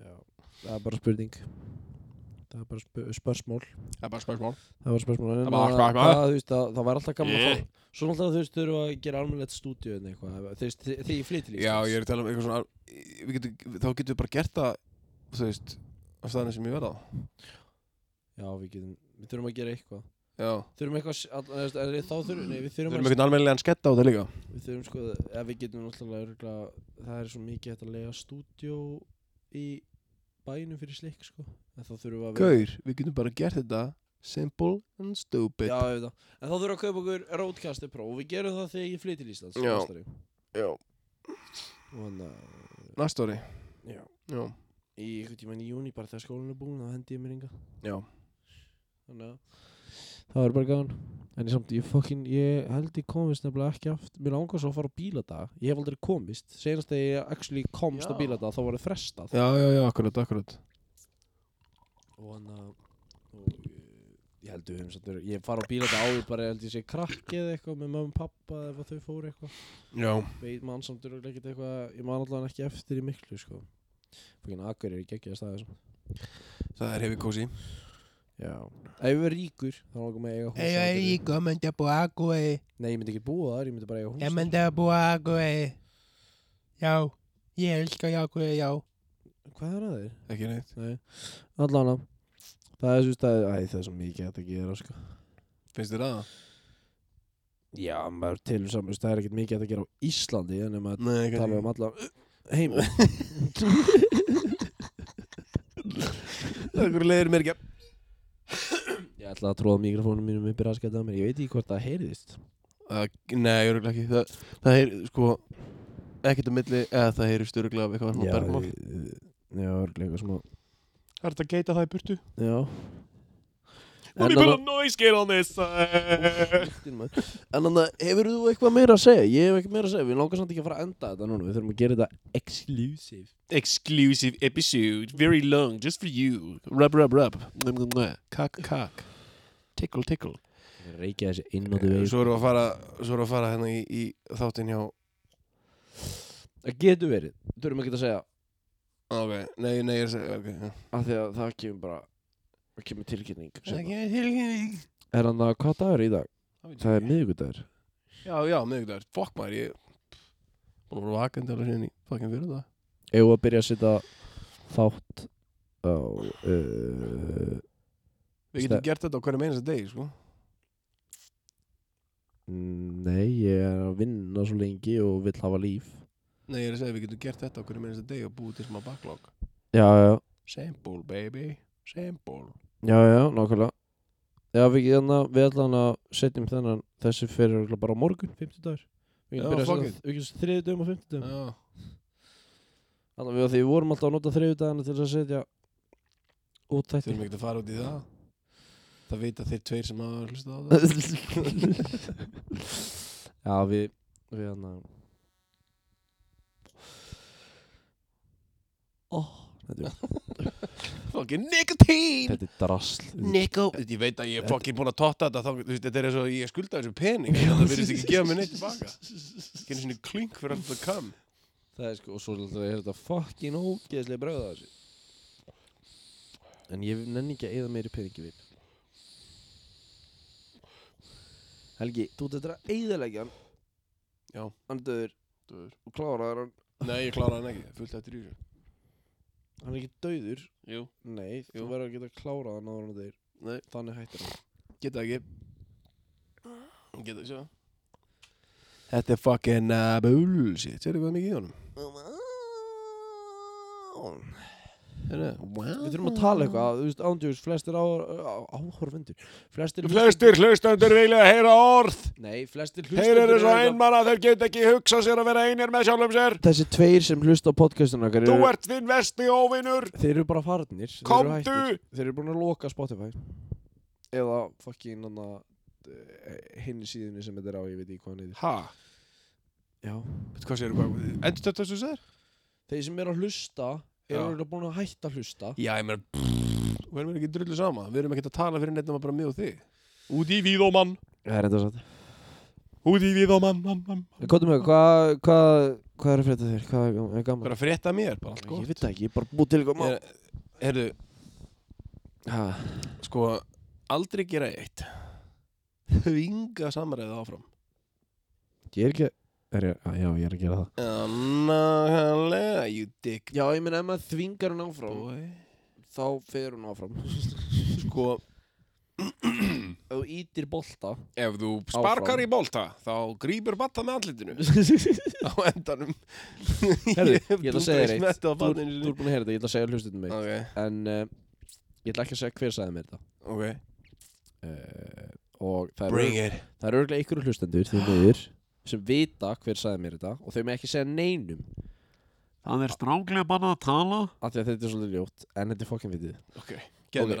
Já, það er bara spurning Það er bara sp spörsmál
Það er bara spörsmál.
Það var spörsmál en
Það er bara
að-
spörsmál.
Það, þú veist, að, það var alltaf gaman
Yeah.
að fá Svo náttúrulega þú veist, þau eru að gera almennlegt stúdíu en eitthvað Þú veist, þi- Þegar ég flytir
Já, ég er að tala um eitthvað svona, við getum, þá getum við bara gert það, þú veist, á staðinu sem ég verða á.
Já, við getum Við þurfum að gera eitthvað
Já.
Þurfum eitthvað s- að- að- að- að- Þá þurfum Nei, við
Við
þurfum
erum
að
eitthvað almennilegan skett á þetta líka.
Við þurfum sko að við getum náttúrulega örgla, það er svo mikið hægt að lega stúdjó í bænum fyrir slik sko en þá þurfum við að vera-
Gaur, við getum bara gert þetta simple and stupid.
Já, ég veit það. En þá þurfum við að kaupa okkur Roadcaster Pro og við gerum það þegar ég flyt til Íslands
Já.
meistari.
Já.
Og hérna- hann að
Næst ári.
Já.
Já.
í ykkur tímann í júni bara þegar skólinn er búin þá hendi ég mér inga
Já.
Þannig að það verður bara gaman En ég samt, ég fucking, ég held ég komist nefnilega ekki aft Mér langar svo að fara á bíladag Ég hef aldrei komist Senast þegar ég actually komst á
Já.
bíladag þá var það frestað
Já, já, já, akkurat, akkurat.
og hann að og eh, ég held við höfum samt verið ég fara á bíl þetta áður bara ég held ég sé krakki eða eitthvað með mömmu og pappa eða hvað þau fóru eitthvað
Já.
veit mann samt verið ekkert eitthvað ég man allan ekki eftir í miklu sko fokkin akkur er ekki ekki að staða þessum
Það er hefði kósi.
já ef ég verið ríkur þá langar mig að eiga hús þar fyrir.
ég myndi að búa að
eh.
gói.
nei ég myndi ekki búa þar ég myndi bara eiga hús þar.
myndi að búa að gói.
eh.
Já, ég elskar að gói, já.
hvað er að þér?
Ekki neitt.
allan að það er svo stæði æ það er svo mikið hægt að gera sko
Finnst þér það?
já maður til samust það er ekkert mikið hægt að gera á Íslandi en ef maður
Nei, ekki.
tala um allan heim
Það er hverju leiðir mér ekki að...
Ég ætla að tróða mikrofónum mínum upp í raskætið á mér Ég veit ekki hvort það heyrðist
Uh, nei, örugglega ekki. Það, það er, sko, ekkert á milli, eða það heyrist örugglega af eitthvað svona bergmál.
Já, örglega smá
Það er þetta að geita það í burtu.
Já
Let me put a noise gate on this uh, side.
En þannig, hefur þú eitthvað meira að segja? Ég hef ekki meira að segja, við langar samt ekki að fara að enda þetta núna Við þurfum að gera þetta exclusive
Exclusive episode, very long, just for you.
Rub, rub, rub. Mwah, mwah, mwah. Cock, cock. Tickle, tickle.
Reykja þessi inn á því veginn
Svo erum við að fara, svo erum við að fara hérna í, í þáttinn hjá
Það getur verið, þurfum ekki að segja
Ok, nei, nei, ég er að segja, ok já.
af því að það kemur bara það kemur tilkynning seinna.
Ekki tilkynning.
Er hann að hvað dagur er í dag? Það er
Já,
miðvikudagur
já, miðvikudagur, fokk maður, ég Búin að vera vakandi alveg síðan í fokkin fyrir það
Ef að byrja að setja þátt á uh, Ste-
Við getum gert þetta á hverju meinast degi, sko
Nei, ég er að vinna svo lengi og vill hafa líf
Nei, ég er að segja, við getum gert þetta á hverju meinast degi og búið til smá backlog
Já, já,
Sample, baby, sample
já, já, nákvæmlega Já, við, hérna, við ætlaðum að setjum þennan þessi fyrir örugglega bara á morgun, 50 dagur Við
Já,
getum byrjað
fuck
að setja við getum þriði dögum og 50 dögum
Já,
Þannig að við- því við vorum alltaf að nota þriði dagana til að setja út þætti
þurfum ekki að fara út í það Það vita þeir tveir sem hafa hlustað á það
Já, við við hérna. hann að oh, þetta, er-
Fokkin nikotín
þetta er drasl
Nico
Ég veit að ég er fokkin búin að totta þetta þá, þú veist, Þetta er eins og ég skulda þessu pening Það verðist ekki gefa mér neitt tilbaka Ekki einu svona klink fyrir alltaf að kam
Það er sko, og svo er þetta fucking ógeðslega bröða þessu En ég nenni ekki að eða meiri peningi við Helgi, þú ert þetta að eðalegja hann
Já.
Hann er döður
Dauður.
Og kláraður hann
Nei, ég kláraði hann ekki, fullt eftir í þessu
Hann er ekki döður
Jú
Nei,
Jú.
þú verður að geta klárað hann áður en hann deyr
Nei.
Þannig hættir hann
Geta ekki Geta ekki sjá Þetta er fucking uh, bullshit Sérðu hvað er mikið í honum Heyrðu, wow.
Við þurfum að tala eitthvað, þú veist, ándjúrs, flestir á, á, áhorfendur Flestir
Flestir hlustendur vilja heyra orð
Nei, flestir
Þeir
hlustendur
eru svo
eru eitthvað-
einmana Þeir get ekki hugsa sér að vera einir með sjálfum sér
Þessi tveir sem hlusta á podcastinu okkar
Þú
eru,
ert þinn vesti óvinur
Þeir eru bara farnir þeir eru
Komdu!
hættir. Þeir eru búin að loka Spotify Eða fucking hann hinn síðunni sem þetta er á, ég veit ekki hvað hann heitir
Ha,
Já
veitu hvað sérðu hvað Endur þetta þessu sér?
Þeir sem eru að hlusta
Já.
eru örugglega búin að hætta að hlusta
Já, ég meina Við erum ekki drullu sama Við erum ekki að tala fyrir neitt nema bara mig og þig
Út í víðómann
Það er þetta satt
Út í víðómann mann, mann, mann.
Kóttu Eh, mig, hvað hva, hva er að frétta þér? Hvað er- er
Hvað
gaman?
er að frétta af mér? Bara allt
Ég
gott
veit það ekki, ég er bara búið til eitthvað mál
Ég- Heyrðu,
Ha,
sko Aldrei gera eitt Þvinga samræðið áfram
Ég er ekki er ég, Já, ég er að gera það
Nákvæmlega, you dick
Já, ég meina ef maður þvingar hún áfram
boy
þá fer hún áfram
Sko,
Ef þú ítir bolta
ef þú
Áfram.
sparkar í bolta þá grýpur batta með andlitinu á endanum
Herðu, ég ætla að segja þér eitt.
Þú
Þú þú ert búin að heyra þetta, ég ætla að segja hlustinu mig
Ok,
En uh, ég ætla ekki að segja hver sagði mér þetta
ok
uh, Og það
Bring
eru
it
það eru örugglega ykkur hlustendur því miður sem vita hver sagði mér þetta og þau með ekki segja neinum
Það er stránglega bannað að tala
af því að þetta er svolítið ljótt en þetta er fokkin vitið
Ok, getur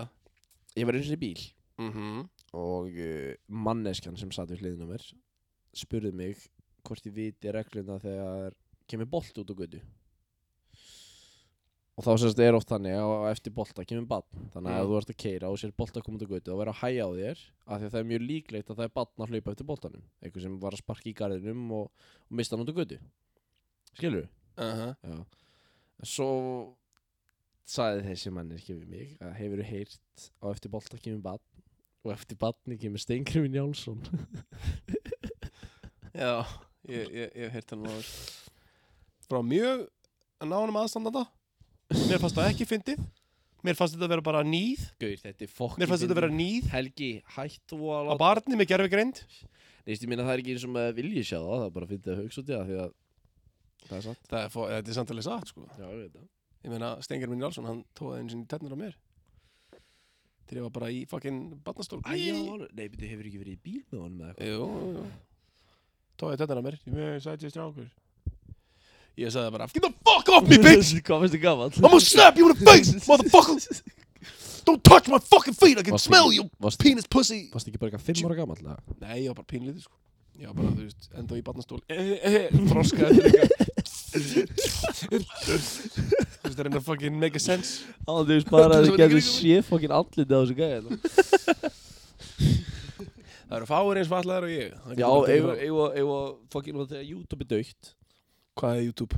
Ok.
það
Ég var eins og í bíl
Mhm.
og uh, manneskjan sem satt við hliðin á mér spurði mig hvort ég viti regluna þegar kemur bolt út á götu og þá semst er oft þannig að á eftir bolta kemur bann þannig að
Mm.
ef þú ert að keira og sér bolta koma út á götu þá verður að hæja á þér af því að það er mjög líklegt að það er bann að hlaupa eftir boltanum einhver sem var að sparka í garðinum og, og mista hann út á götu skilur
Aha.
Já. Svo sagði þessi mannirki við mig að hefur heyrt á eftir bolta kemur bann og eftir banni kemur Steingrifin Jálsson.
Já, ég, ég, ég hef heyrt hann áður Frá mjög nánum aðstandanda Mér fannst það ekki fyndið Mér fannst þetta vera bara nýð
Gauð, þetta er fokkin.
Mér fannst þetta vera nýð
Helgi, hætt þú að
á
láta...
barni með gerfigreind
Neist, ég minna það er ekki eins og maður vilji sjá það, það er bara að finna að hugsa út í það því að... Það er satt.
Það er, fó- þetta er samtalið satt sko
Já, ég veit það.
Ég meina, Stengar minn Jálsson, hann tóði einu sinni tennur á mér Þegar ég var bara í fucking barnastól
Æja, nei, betur, hefur ekki verið í bíl með honum eða eitthvað?
Jú, jú Tóði tennur á mér Ég sagði strákur Ég sagði bara Get the fuck off me bitch
Hvað finnst þið gaman?
I'm gonna slap you in the face Motherfucker Don't touch my fucking feet I can
Varstu-
smell you
varstu-
Penis pussy
Varst ekki bara eitthvað fimm ára gaman alltaf?
Nei, ég var bara pínlítið sko Ég var bara, þú veist, enda í barnastól Eh, Froska þetta líka Þú veist, það er enda fucking make a sense
Ándjús
bara að þið gætu
sé fokkin andlitið á þessu gæði.
Það eru fáir eins fatlaðar og ég Það
Já,
getur bara
eigum
tekið
eigum að, eigum að, fucking, þegar YouTube er dögt
fram. Hvað er YouTube?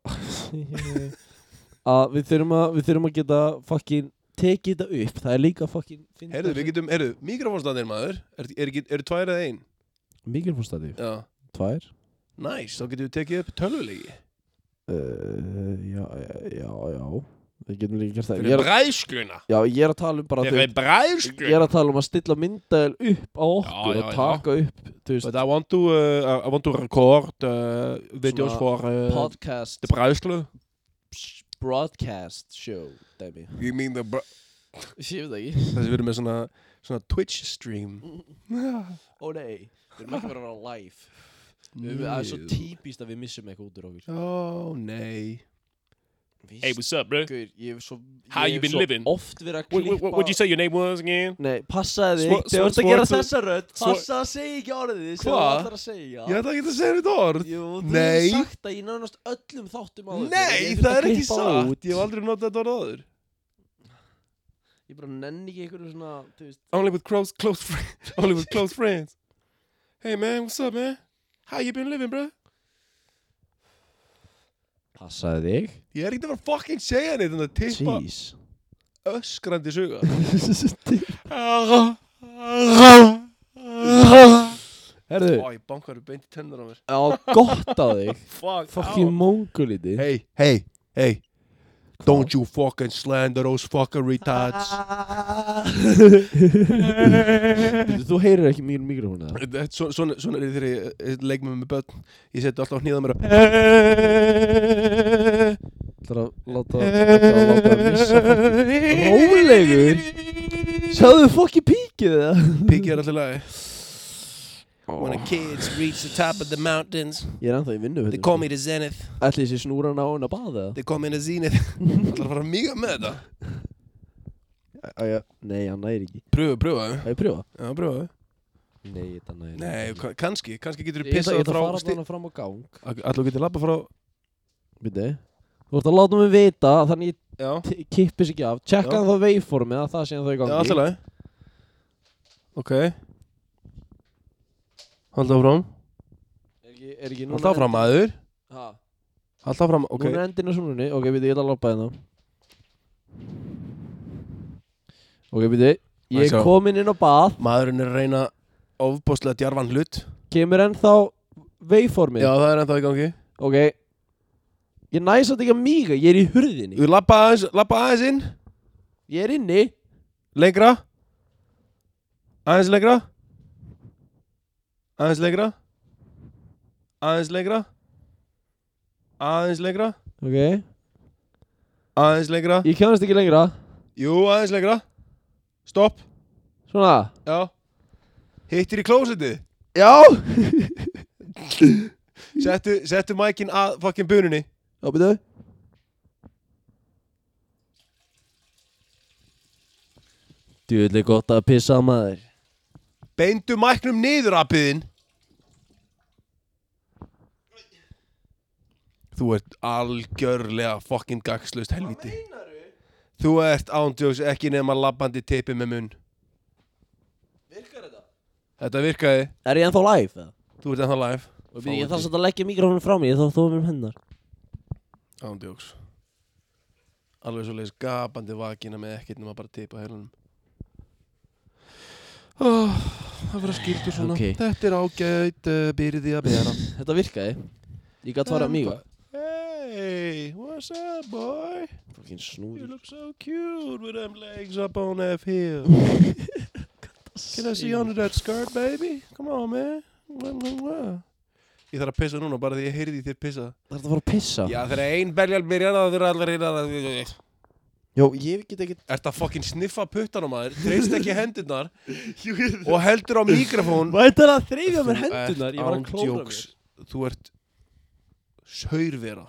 að við þurfum að, við þurfum að geta fucking tekið þetta upp, það er líka fucking fyndið
Herðu, við
sem-
getum, herðu, mikrofónstæðir maður Er, er, er, er tvær eða ein?
Mikrofónstatíf,
Já
tvær
Næs, nice, þá getum við tekið upp tölvulegi
uh, Já, já, já Við getum líka gert það Ég
Fyrir
er,
bræðskluna
Já, ég er að tala um bara þú-
Fyrir
Ég
bræðskluna
er að tala um að stilla myndaðil upp á okkur
Já, já,
og
já.
taka upp, þú veist,
But I want to, uh, I want to record uh, videos
Svona
for uh,
podcast
the bræðslu
broadcast show, dæmi
You mean the br-
Ég veit það ekki
Þessi við erum með svona, svona Twitch stream
Mm.
Ó nei, við erum ekki bara að vera á live Við- við- Það er svo típist að við missum eitthvað út úr okkur
Ó, Oh, nei
Víst,
Hey, what's up, bro?
Gaur, ég hef svo, ég
How you
hef
been
svo
living?
oft verið að
What, what,
klippa
what'd you say your name was again?
Nei, passaði
Svo-
þig, þegar þú
svo-
ert að
svo-
gera
svo-
þessa rödd
svo-
Passaði að segja ekki orðið sem þú
Hva?
ætlar að segja
Ég ætla ekki að segja þetta orð
Jú, þú
Nei.
hefur sagt það í nánast öllum þáttum áður
Nei,
Ég þurfti
það
að
er ekki
klippa
satt
út.
Ég hef aldrei notað þetta orð áður
Ég bara nenni ekki einhverju svona, þú veist
Only with close, close friends Only with close friends Hey man, what's up man? How you been living bro?
Passaði þig
Ég er ekki að fara að fucking segja neitt en að tippa
Jeez
öskrandi suga
Herðu,
Ó, ég bankar upp beint í tennur á mér
á gott á þig
Fuck,
Fucking mongoliti
Hey, hey, hey Don't you fucking slander those fucking retards
Þú heyrir ekki mjög mikrofónu það
Þetta- svo- Svona svona er ég þegar ég eh, leik með með börn Ég seti alltaf hníða mér að
Það er að láta Það er að láta að missa Rólegur Sjáðu fokki píkið það
Piggi er alltaf lagi When the kids reach the top of the mountains
Ég er ennþá í vinnu
They call me the zenith
Ætli þessi snúran á hún að baða
They call me the zenith Það er bara mjög með þetta
það? Nei, hann næri ekki
Pröfu, pröfu
Það er prjóða
Já, pröfu
Nei, þetta næri
Nei, ka- kannski, kannski getur þú
Ég ætla
pissað
ég ætla að fara
sti-
þarna fram á gang
Ætla þú getur labba frá
Býtu Þú ert að láta mig vita að þannig ég
Já,
t- kippi sig ekki af
Já.
Tjekka þá waveformið að það sé ennþá í
já
gangi
alltaf lagi Ok Halda áfram
Er ekki, er ekki núna
Halda áfram, maður
Ha,
Halda áfram, ok
Núna er endin á snúrunni Ok, býtu, ég ætla að loppa hérna Ok, býtu Ég
Nice, já.
er komin inn á bað
Maðurinn er að reyna ofbóðslega djarfan hlut
Kemur ennþá waveformið
Já, það er ennþá í gangi
Ok Ég næs að ekki að míga, ég er í hurðinni
Þú labba aðeins, labba aðeins inn
Ég er inni
Lengra Aðeins lengra Aðeins lengra Aðeins lengra Aðeins lengra
Ok
Aðeins lengra
Ég kemast ekki lengra
Jú, aðeins lengra Stopp
Svona
Já Hittir í klósiti
Já
Settu, settu mækin að fucking bununni
Já, byrju Djúðli gott að pissa á maður
Beindu mæknum niður apiðin Þú ert algjörlega fucking gagslust helviti Þú ert ándjóks ekki nema labbandi teipi með munn Virkar þetta? Þetta virkaði,
Er ég ennþá live eða?
þú ert ennþá live
Og byrju, ég þarf samt að leggja mikrofónu frá mig, ég þarf að þóða mér um hennar
Ándjóks Alveg svo leis gapandi vakina með ekkert nema bara teipa helunum oh, Það verður skildur svona
Ok.
Þetta er ágæt uh, byrði að bera
Þetta virkaði Ég gætt fara að míga
Hey, what's up, boy?
Fucking
You
snúður
look so cute with them legs up on that hill. Can I see under that skirt, baby? Come on, man. Mwah, mwah, mwah. Ég þarf að pissa núna bara því ég heyrði í þér pissa
Það er að fara að pissa
Já þegar ein beljan byrjar það þurfa allir reyna að Ert
Jó, ég get ekki
að fucking sniffa puttanum maður Treyst ekki hendurnar Og heldur á mikrofón
Mættar að þreyfja mér
Þú ert
hendunar Ég var að
án
klóra mér
djóks. Þú ert Saurvera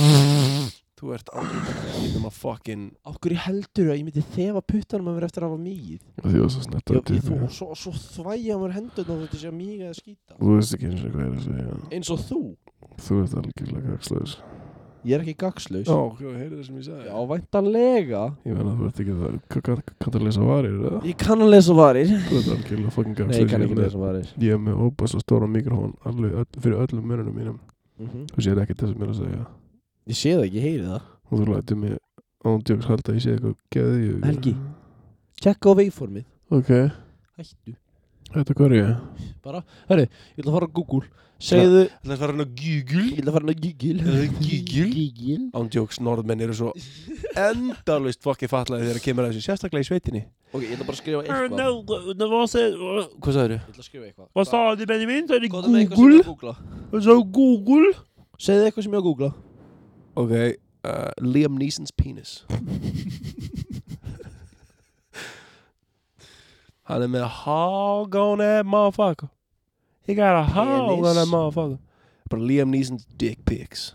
Þú ert aldrei Þú erum að fucking
Okkur í heldur að ég myndi þefa puttanum að mér eftir að hafa míð
Því að það snetta
Já, ég, þú, og svo, svo þvæja mér hendunar og þetta sé að míga eða skýta
Þú veist ekki eins og hvað er að segja
Eins og þú
Þú ert algjörlega kakslaður
Ég er ekki gagslaus
Já, hvað heyrðu það sem ég sagði?
Já, væntanlega
Ég meina þú ert ekki það, hvað- hvað- hvað- kanntu að lesa varir eða?
Ég kann að lesa varir
Þú ert algjörlega fucking
Nei,
gafstur
ég kann ekki lesa varir
Ég er með óbæs og stóra mikrofón alveg, öll, fyrir öllum mörunum mínum
Mhm.
Þú sér ekki það sem ég er að segja
Ég sé það ekki, ég heyri það
Og þú lætur mig ándjóks halda að ég sé eitthvað geðið
Helgi. Tjekka á veiformið
Ok,
Hættu
þetta hvað er ég?
Ég ætla að fara á Google Segðu
Það er farin að gígul
Ég ætla að fara á Google
Gígul Ándjóks norðmenn eru svo endalust fokkið fatlaði þegar kemur að þessu sérstaklega í sveitinni
Ok, ég ætla bara að skrifa eitthvað
Hvað sagður þau?
Ég ætla að skrifa eitthvað
Vad sa du Benjamin? Sa du
Hvað er með eitthvað sem ég á
Google?
að googla?
Sa du Google?
Segðu eitthvað sem ég á að googla
Ok, uh, Liam Neeson's penis Hann er með hog on that motherfucker He got a hog on that motherfucker Bara Liam Neeson's dick pics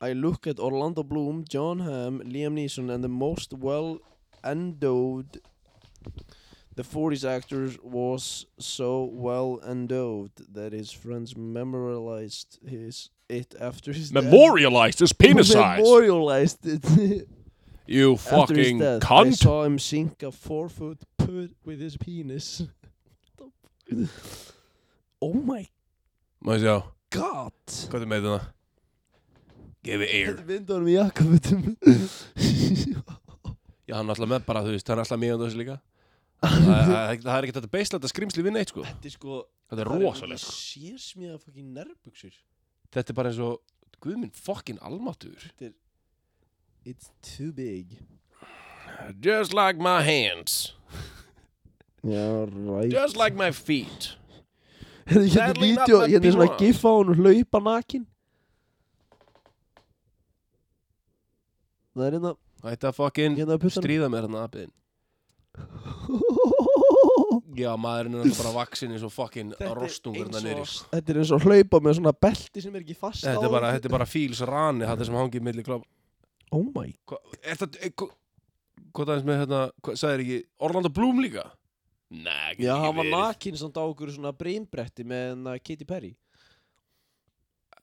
I look at Orlando Bloom, John Hamm, Liam Neeson and the most well endowed the 40s actors was so well endowed that his friends memorialized his it after his death.
Memorialized his penis size.
memorialized it
You
after his
fucking
death. I
cunt.
saw him sink a four foot put with his penis oh my
Má ég sjá,
god
hvað er með þetta? Give it ear
vindunum í jakkafutum
Já, hann er alltaf með bara, þú veist, hann er alltaf með á þessu líka Það það- það er ekki þetta beislæta skrimsli við neitt, sko
þetta er sko
Þetta er sko. rosalega
Sér smíða fokkin nærbuksur
Þetta er bara eins og, guð minn, fokkin almatur
It's too big
Just like my hands
Já, ræt
Just like my feet
Hérna er
Sadly not
vídeo,
that
hérna er svona
big one.
gif á hún og hlaupa nakin Það er hérna
Þetta fokkin
Hérna að putta
stríða mér hann aðbiðin Já, maðurinn er alltaf bara vaksin eins og fokkin rostungur hérna hann nýri
Þetta er eins og hlaupa með svona belti sem er ekki fast á
Þetta er bara,
honum.
þetta er bara fíls rani þetta sem hangið milli kláp
Oh my
Er þetta, eh, hva- hvað það er með hérna hvað, sagðir ekki, Orlando Bloom líka? Nei,
Já, hann var
nakk
nakin samt á okkur svona brýmbretti með hérna Katy Perry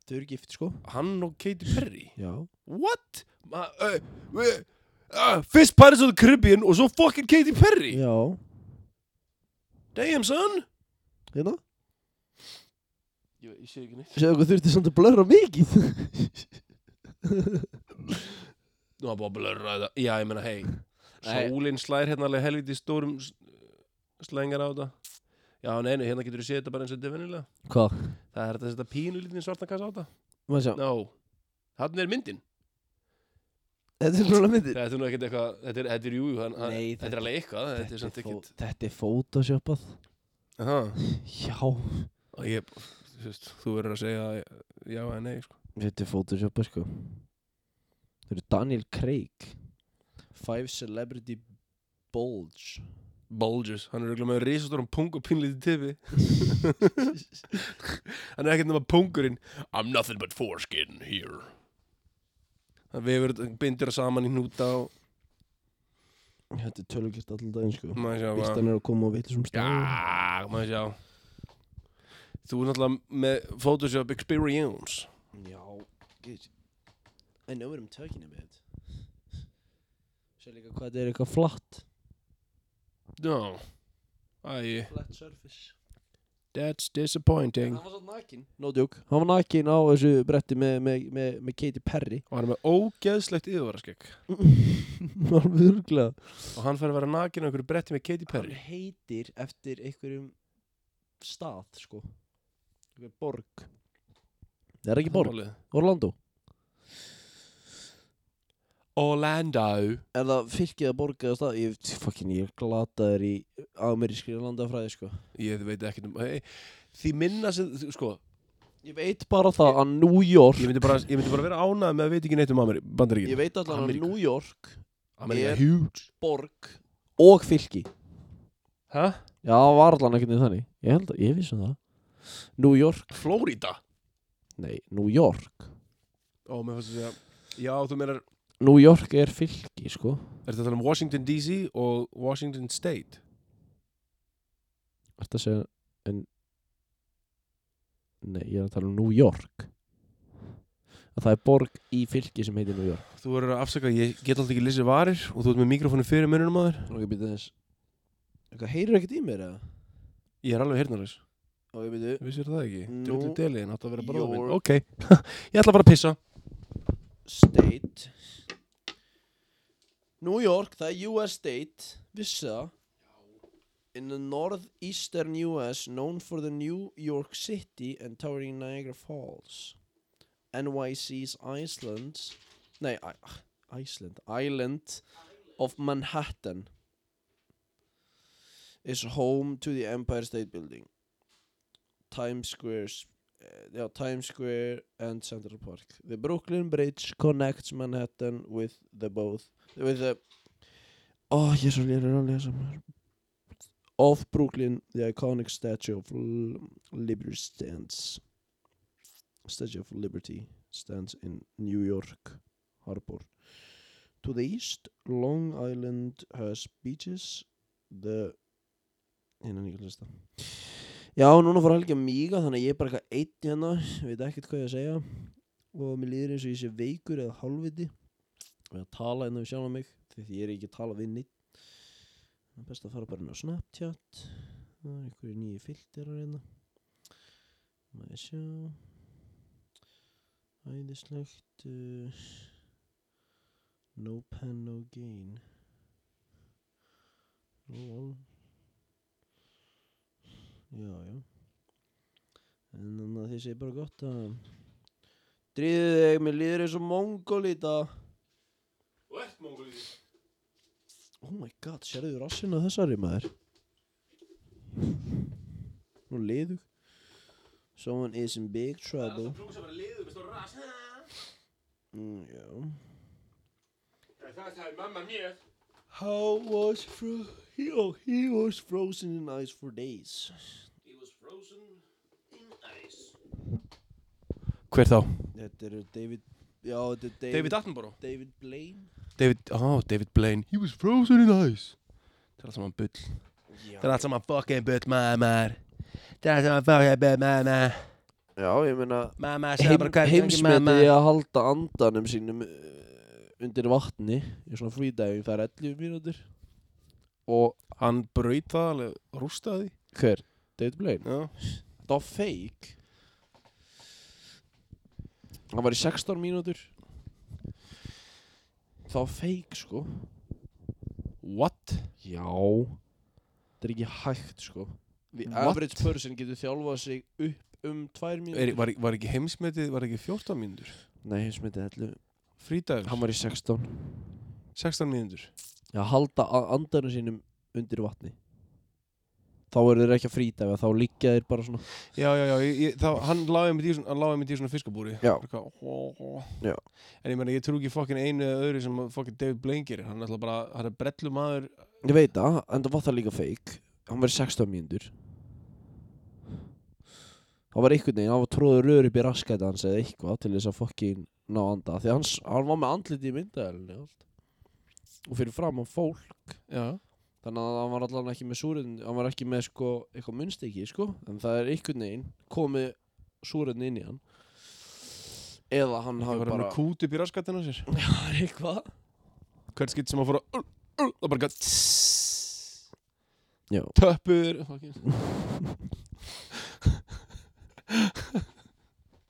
Þau eru gift sko
Hann og Katy Perry
Já
What? Ma, uh, uh, uh, Fyrst Pirates of the Caribbean og svo fokkin Katy Perry
Já
Damn son
Hérna
Ég, ég sé ekki neitt
Sjáðu hvað þurfti samt að blöra mikið
Nú var bara að blurra þetta Já, ég meina, hei
Nei.
Sólin slær hérna alveg helviti stórum s- slengar á þetta Já, nei, nei, hérna getur þú séð þetta bara eins og þetta er venilega
Hvað?
Það er hægt að setja pínu lítið svartan kassa á þetta
Má sjá
Ná, þarna er myndin
Þetta er svona myndir
Þetta er nú ekkert eitthvað Þetta er, þetta er jú, jú, hann, hann,
Nei,
þetta er alveg eitthvað Þetta er samt
fó-
ekkert
þetta er photoshoppað
Aha.
Já
Og ég, þú veist, þú verður að segja já eða nei, sko
Þetta er photoshoppað sko Það eru Daniel Craig Five Celebrity Bulge
Bulges, hann er auðvitað með risastórum pung og pinlítið tifi Hann er ekkert nema pungurinn I'm nothing but foreskin here Það vefur, bindur það saman í núta og
Þetta er tölugist alltaf daginn sko
maður sjá maður-
Býstan er að koma á vitlisum stað
Já, maður sjá Þú er náttúrulega með Photoshop experience
Já Good I know what I'm talking about Sér líka hvað þetta er eitthvað flatt
Já Æ,
Flat surface
that's disappointing
Hann var svo nakin No joke Hann var nakin á þessu bretti með, með, með, með Katy Perry
Og hann er með ógeðslegt yfirvaraskegg
Alveg örglega
Og hann fer að vera nakin á einhverju bretti með Katy Perry
Hann heitir eftir einhverjum stað, sko Einhver borg Það er ekki borg,
Málið.
Orlando
Orlando
Er það fylkið að borg eða stað? Ég, fucking, ég glataður í amerískri landafræði, sko
Ég veit ekkert um hey, Því minna sem, þú- sko
Ég veit bara það að New York
Ég myndi bara, ég myndi bara vera ánað með að veit ekki neitt um Ameri
Ég
Bandaríkin
veit allan að
Ameríku.
New York,
Ameríka
Ég-
huge
borg og fylki
Hæ?
Já, það var allan ekkert niður þannig Ég held að, ég vissum það New York,
Flórida
nei, New York
Ó, mér fannst að segja Já, þú meinar
New York er fylki, sko
Er þetta um Washington DC og Washington State?
Þetta segja en Nei, ég er að tala um New York að það er borg í fylki sem heitir New York
Þú verður að afsaka, ég get alltaf ekki lisið varir og þú ert með mikrofónu fyrir mununum á þér
og ég byrja þess eitthvað heyrir ekkert í mér eða
Ég er alveg hirnarlaus
og ég byrja
Vissir það ekki?
Nú.
Djóttu deliðin átt að vera bróðum
Your-
minn Ok, ég ætla bara að pissa
state New York, það er US state vissi það In the northeastern US known for the New York City and towering Niagara Falls NYC's Iceland Nei, I- Iceland Island of Manhattan is home to the Empire State Building Times Square's uh, yeah, Times Square and Central Park. The Brooklyn Bridge connects Manhattan with the both with the oh, ég er svo lélur að lesa mér of Brooklyn, the iconic Statue of L- Liberty stands Statue of Liberty stands in New York Harbor. To the east, Long Island has beaches the hérna nýja lista Já, núna fór Helgi að míga þannig að ég er bara eitthvað eitt hérna veit ekkert hvað ég að segja og mér líður eins og ég sé veikur eða hálfviti og ég að tala hérna við sjálfum mig því því ég er ekki að tala við nýtt það er best að fara bara inn á Snapchat það er einhverju nýju filterar hérna maður sjá æðislegt uh, no pen no gain lol Já, já. En þannig að þið segir bara gott að Dríðu þig, mér líður eins og mongolíta Og ert mongolíta Oh my god, sérðu rassin að þessari maður Nú liðug Someone is in big trouble Mm, já How was fro he, oh, he was frozen in ice for days
Hver þá?
Þetta er David Já, þetta er David
David Attenborough
David Blaine
David, oh, David Blaine He was frozen in ice Það er allt saman bull
Já.
Það er allt saman fucking bull, mamar Það er allt saman fucking bull, mamar
Já, ég meina
Mamar,
heim, Heimsmetið í að halda andanum sínum uh, undir vatni í svona frídæfing, það er 11 mínútur Og
Hann braut það alveg rústaði
hver? David Blaine?
Já
Þetta var fake Hann var í 16 mínútur Það var fake sko
What?
Já Þetta er ekki hægt sko The
What?
average person getur þjálfað sig upp um 2 mínútur
Er, var, var ekki heimsmetið, var ekki 14 mínútur?
Nei, heimsmetið 11
Frídagur?
Hann var í 16
16 mínútur?
Já, halda a- andanum sínum undir vatni Þá eru þeir ekki að frýta Þá liggja þeir bara svona
Já, já, já, ég, ég, þá, hann láði mig í svona, hann láði mig í svona fiskabúri
Já.
Eitthvað, hó, hó.
Já.
En ég meina, ég trú ekki fokkin einu eða öðru sem fokkin David Blaine gerir Hann er alltaf bara, hann er brellu maður
Ég veit það, en það var það líka feik Hann var í 16 mínútur Hann var einhvern veginn Hann var tróður rör upp í raskæti hans eða eitthvað Til þess að fokkin ná anda Því hans, hann var með andliti í myndaðelinni Og fyrir fram á fólk
Já
Þannig að hann var allan ekki með súrinn Hann var ekki með sko, eitthvað munstiki sko. En það er einhvern veginn komið súrinn inn í hann Eða hann
Hann
hafi
var bara
bara
með kút upp í raskatinn á sér
var eitthvað
Hvert skitt sem hann fór að Það bara gætt
Já.
Töppur fucking.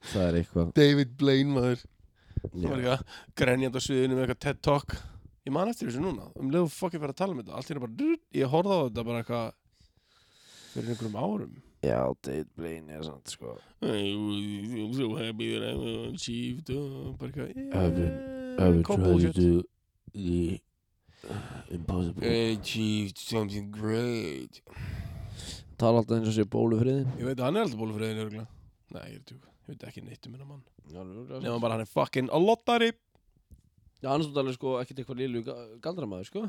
Það er eitthvað
David Blaine maður Það var eitthvað grenjandi á sviðinu með eitthvað TED Talk Ég man eftir þessu núna Um leiðu fokkin fyrir að tala um þetta Allt er bara drrrt. Ég horfði á þetta bara eitthvað Fyrir einhverjum árum
Já, David Blaine er samt sko
I'm so happy that I'm achieved uh, bara eitthvað
I've been- I've been trying to do the uh, impossible
achieved something great
Tala alltaf eins og sé bólufriðin
Ég veit að hann er alltaf bólfriðin örgulega Nei, ég er tjúk Ég veit ekki neitt um hennar mann Nefnum bara hann er fucking a lotari
Já, hann er samt alveg sko ekkert eitthvað lílu galdramæður sko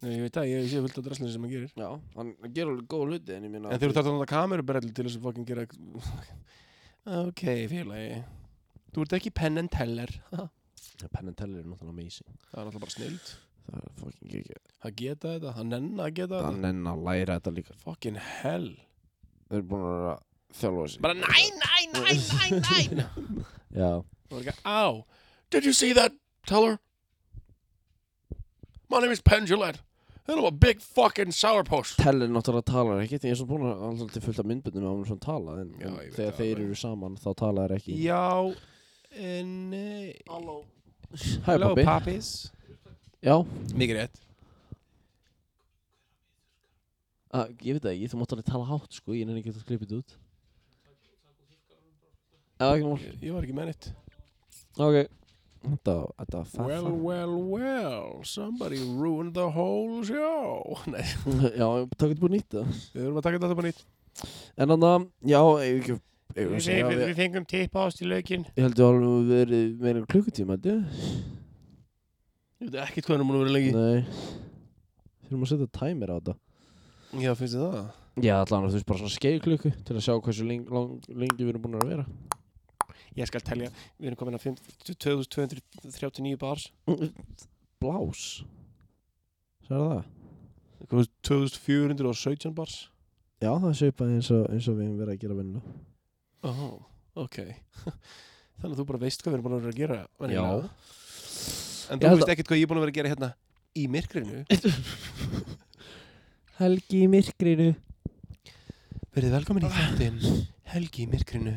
Nei, ég veit það, ég sé fullt af drasslinu sem hann gerir
Já, hann gerur alveg góð hluti En ég minna
En þegar þú þarft að nota kamerubrellu til þess að fucking gera Ok, félagi Þú ert ekki penn and teller Ha,
Penn and Teller er náttúrulega amazing
Það er alltaf bara snild
Það er fucking ekki
Að geta þetta, að nenna að geta þetta
Hann enn að læra þetta líka
Fucking hell
Þeir eru búin að vera að þjálfa sig
Bara næ, næ, næ, næ, næ
Já
og það er ekki, á, did you see that, teller? My name is Pendulette and I'm a big fucking sourpuss
Teller náttúrulega talar ekki Ég er svo búin að alltaf til fullt af myndbundum á hún svona tala en, en
Já, ég veit
þegar
það
þeir
alveg.
eru saman þá tala þeir ekki
Já, en eh, nei
Halló.
Hæ pabbi
pappis
Já,
Mikið rétt
að, Ah, ég veit það ekki, þú mátt alveg tala hátt sko Ég nenni ekki að skrifa þetta út Já, ekki mál
Ég var ekki með nýtt
Ok Þetta, þetta, það
Well, well, well Somebody ruined the whole show Nei,
Já, takk þetta búin nýtt það
við erum að taka þetta upp á nýtt
En þannig að, já, eigum ekki eigum við að segja, við-
fengum tipp ást í lökin
Ég held að alveg verið meira en klukkutíma, held ég
Ég veit ekki hvað hann múin að vera lengi
Nei Þurfum að setja timer á þetta
Já, finnst þið það?
Já, allan að þú veist bara svona skeiðklukku til að sjá hversu leng, lang, lengi við erum búin að vera
Ég skal telja, við erum komin að 5 2239 bars
Blás Særa það?
2417 bars
Já, það er svipað eins og, eins og við hefum verið að gera vinna
oh, ok Þannig að þú bara veist hvað við erum búin að vera að gera venjulega. hérna.
Ég
En þú
held
veist ekkert hvað ég er búin að vera að gera hérna í myrkrinu
Helgi í myrkrinu
Verið velkomin í þáttinn Helgi í myrkrinu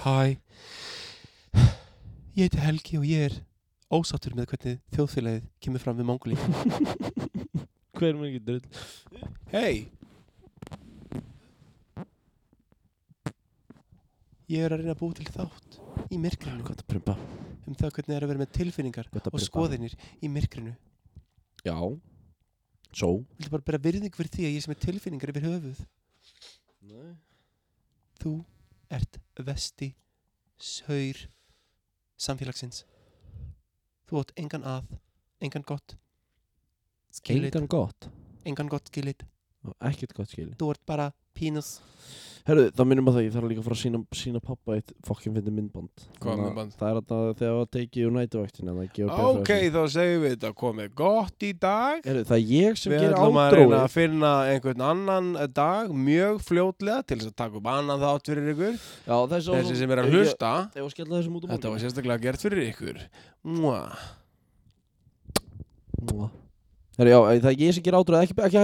Hæ Ég heiti Helgi og ég er ósáttur með hvernig þjóðfélagið kemur fram við mongolí
Hver mér ekki drull
Hei Ég er að reyna að búa til þátt í myrkrinu
Hvað það prumpa?
um það hvernig það er að vera með tilfinningar
Gott að
og
prumpa.
skoðinir í myrkrinu
Já Svo
Viltu bara bera virðing fyrir því að ég sem er tilfinningar yfir höfuð
Nei
Þú ert vesti saur samfélagsins Þú átt engan að engan gott skilit,
Engan gott
engan gott skilit
Og Ekkert gott skil
Þú ert bara pínus
Herru, það minnum að það, ég þarf líka að fara að sína, sína pappa eitt fokkin fyndi myndband
Hvaða
Þannig að
myndband?
Það er að það þegar það tekið úr nætuvæktina
þá segjum við þetta komið gott í dag
Herru, það er ég sem
Við
gerir
ætlum að reyna
ádróið
að finna einhvern annan dag mjög fljótlega til þess að taka upp annan þátt fyrir ykkur
Já, þessi, á-
þessi sem er að
Ég-
hlusta
Ég var að skella þessum út á
Þetta var sérstaklega gert fyrir ykkur Mua
morgun Herru, já, það er ég sem gerir ádróið Ekki, ekki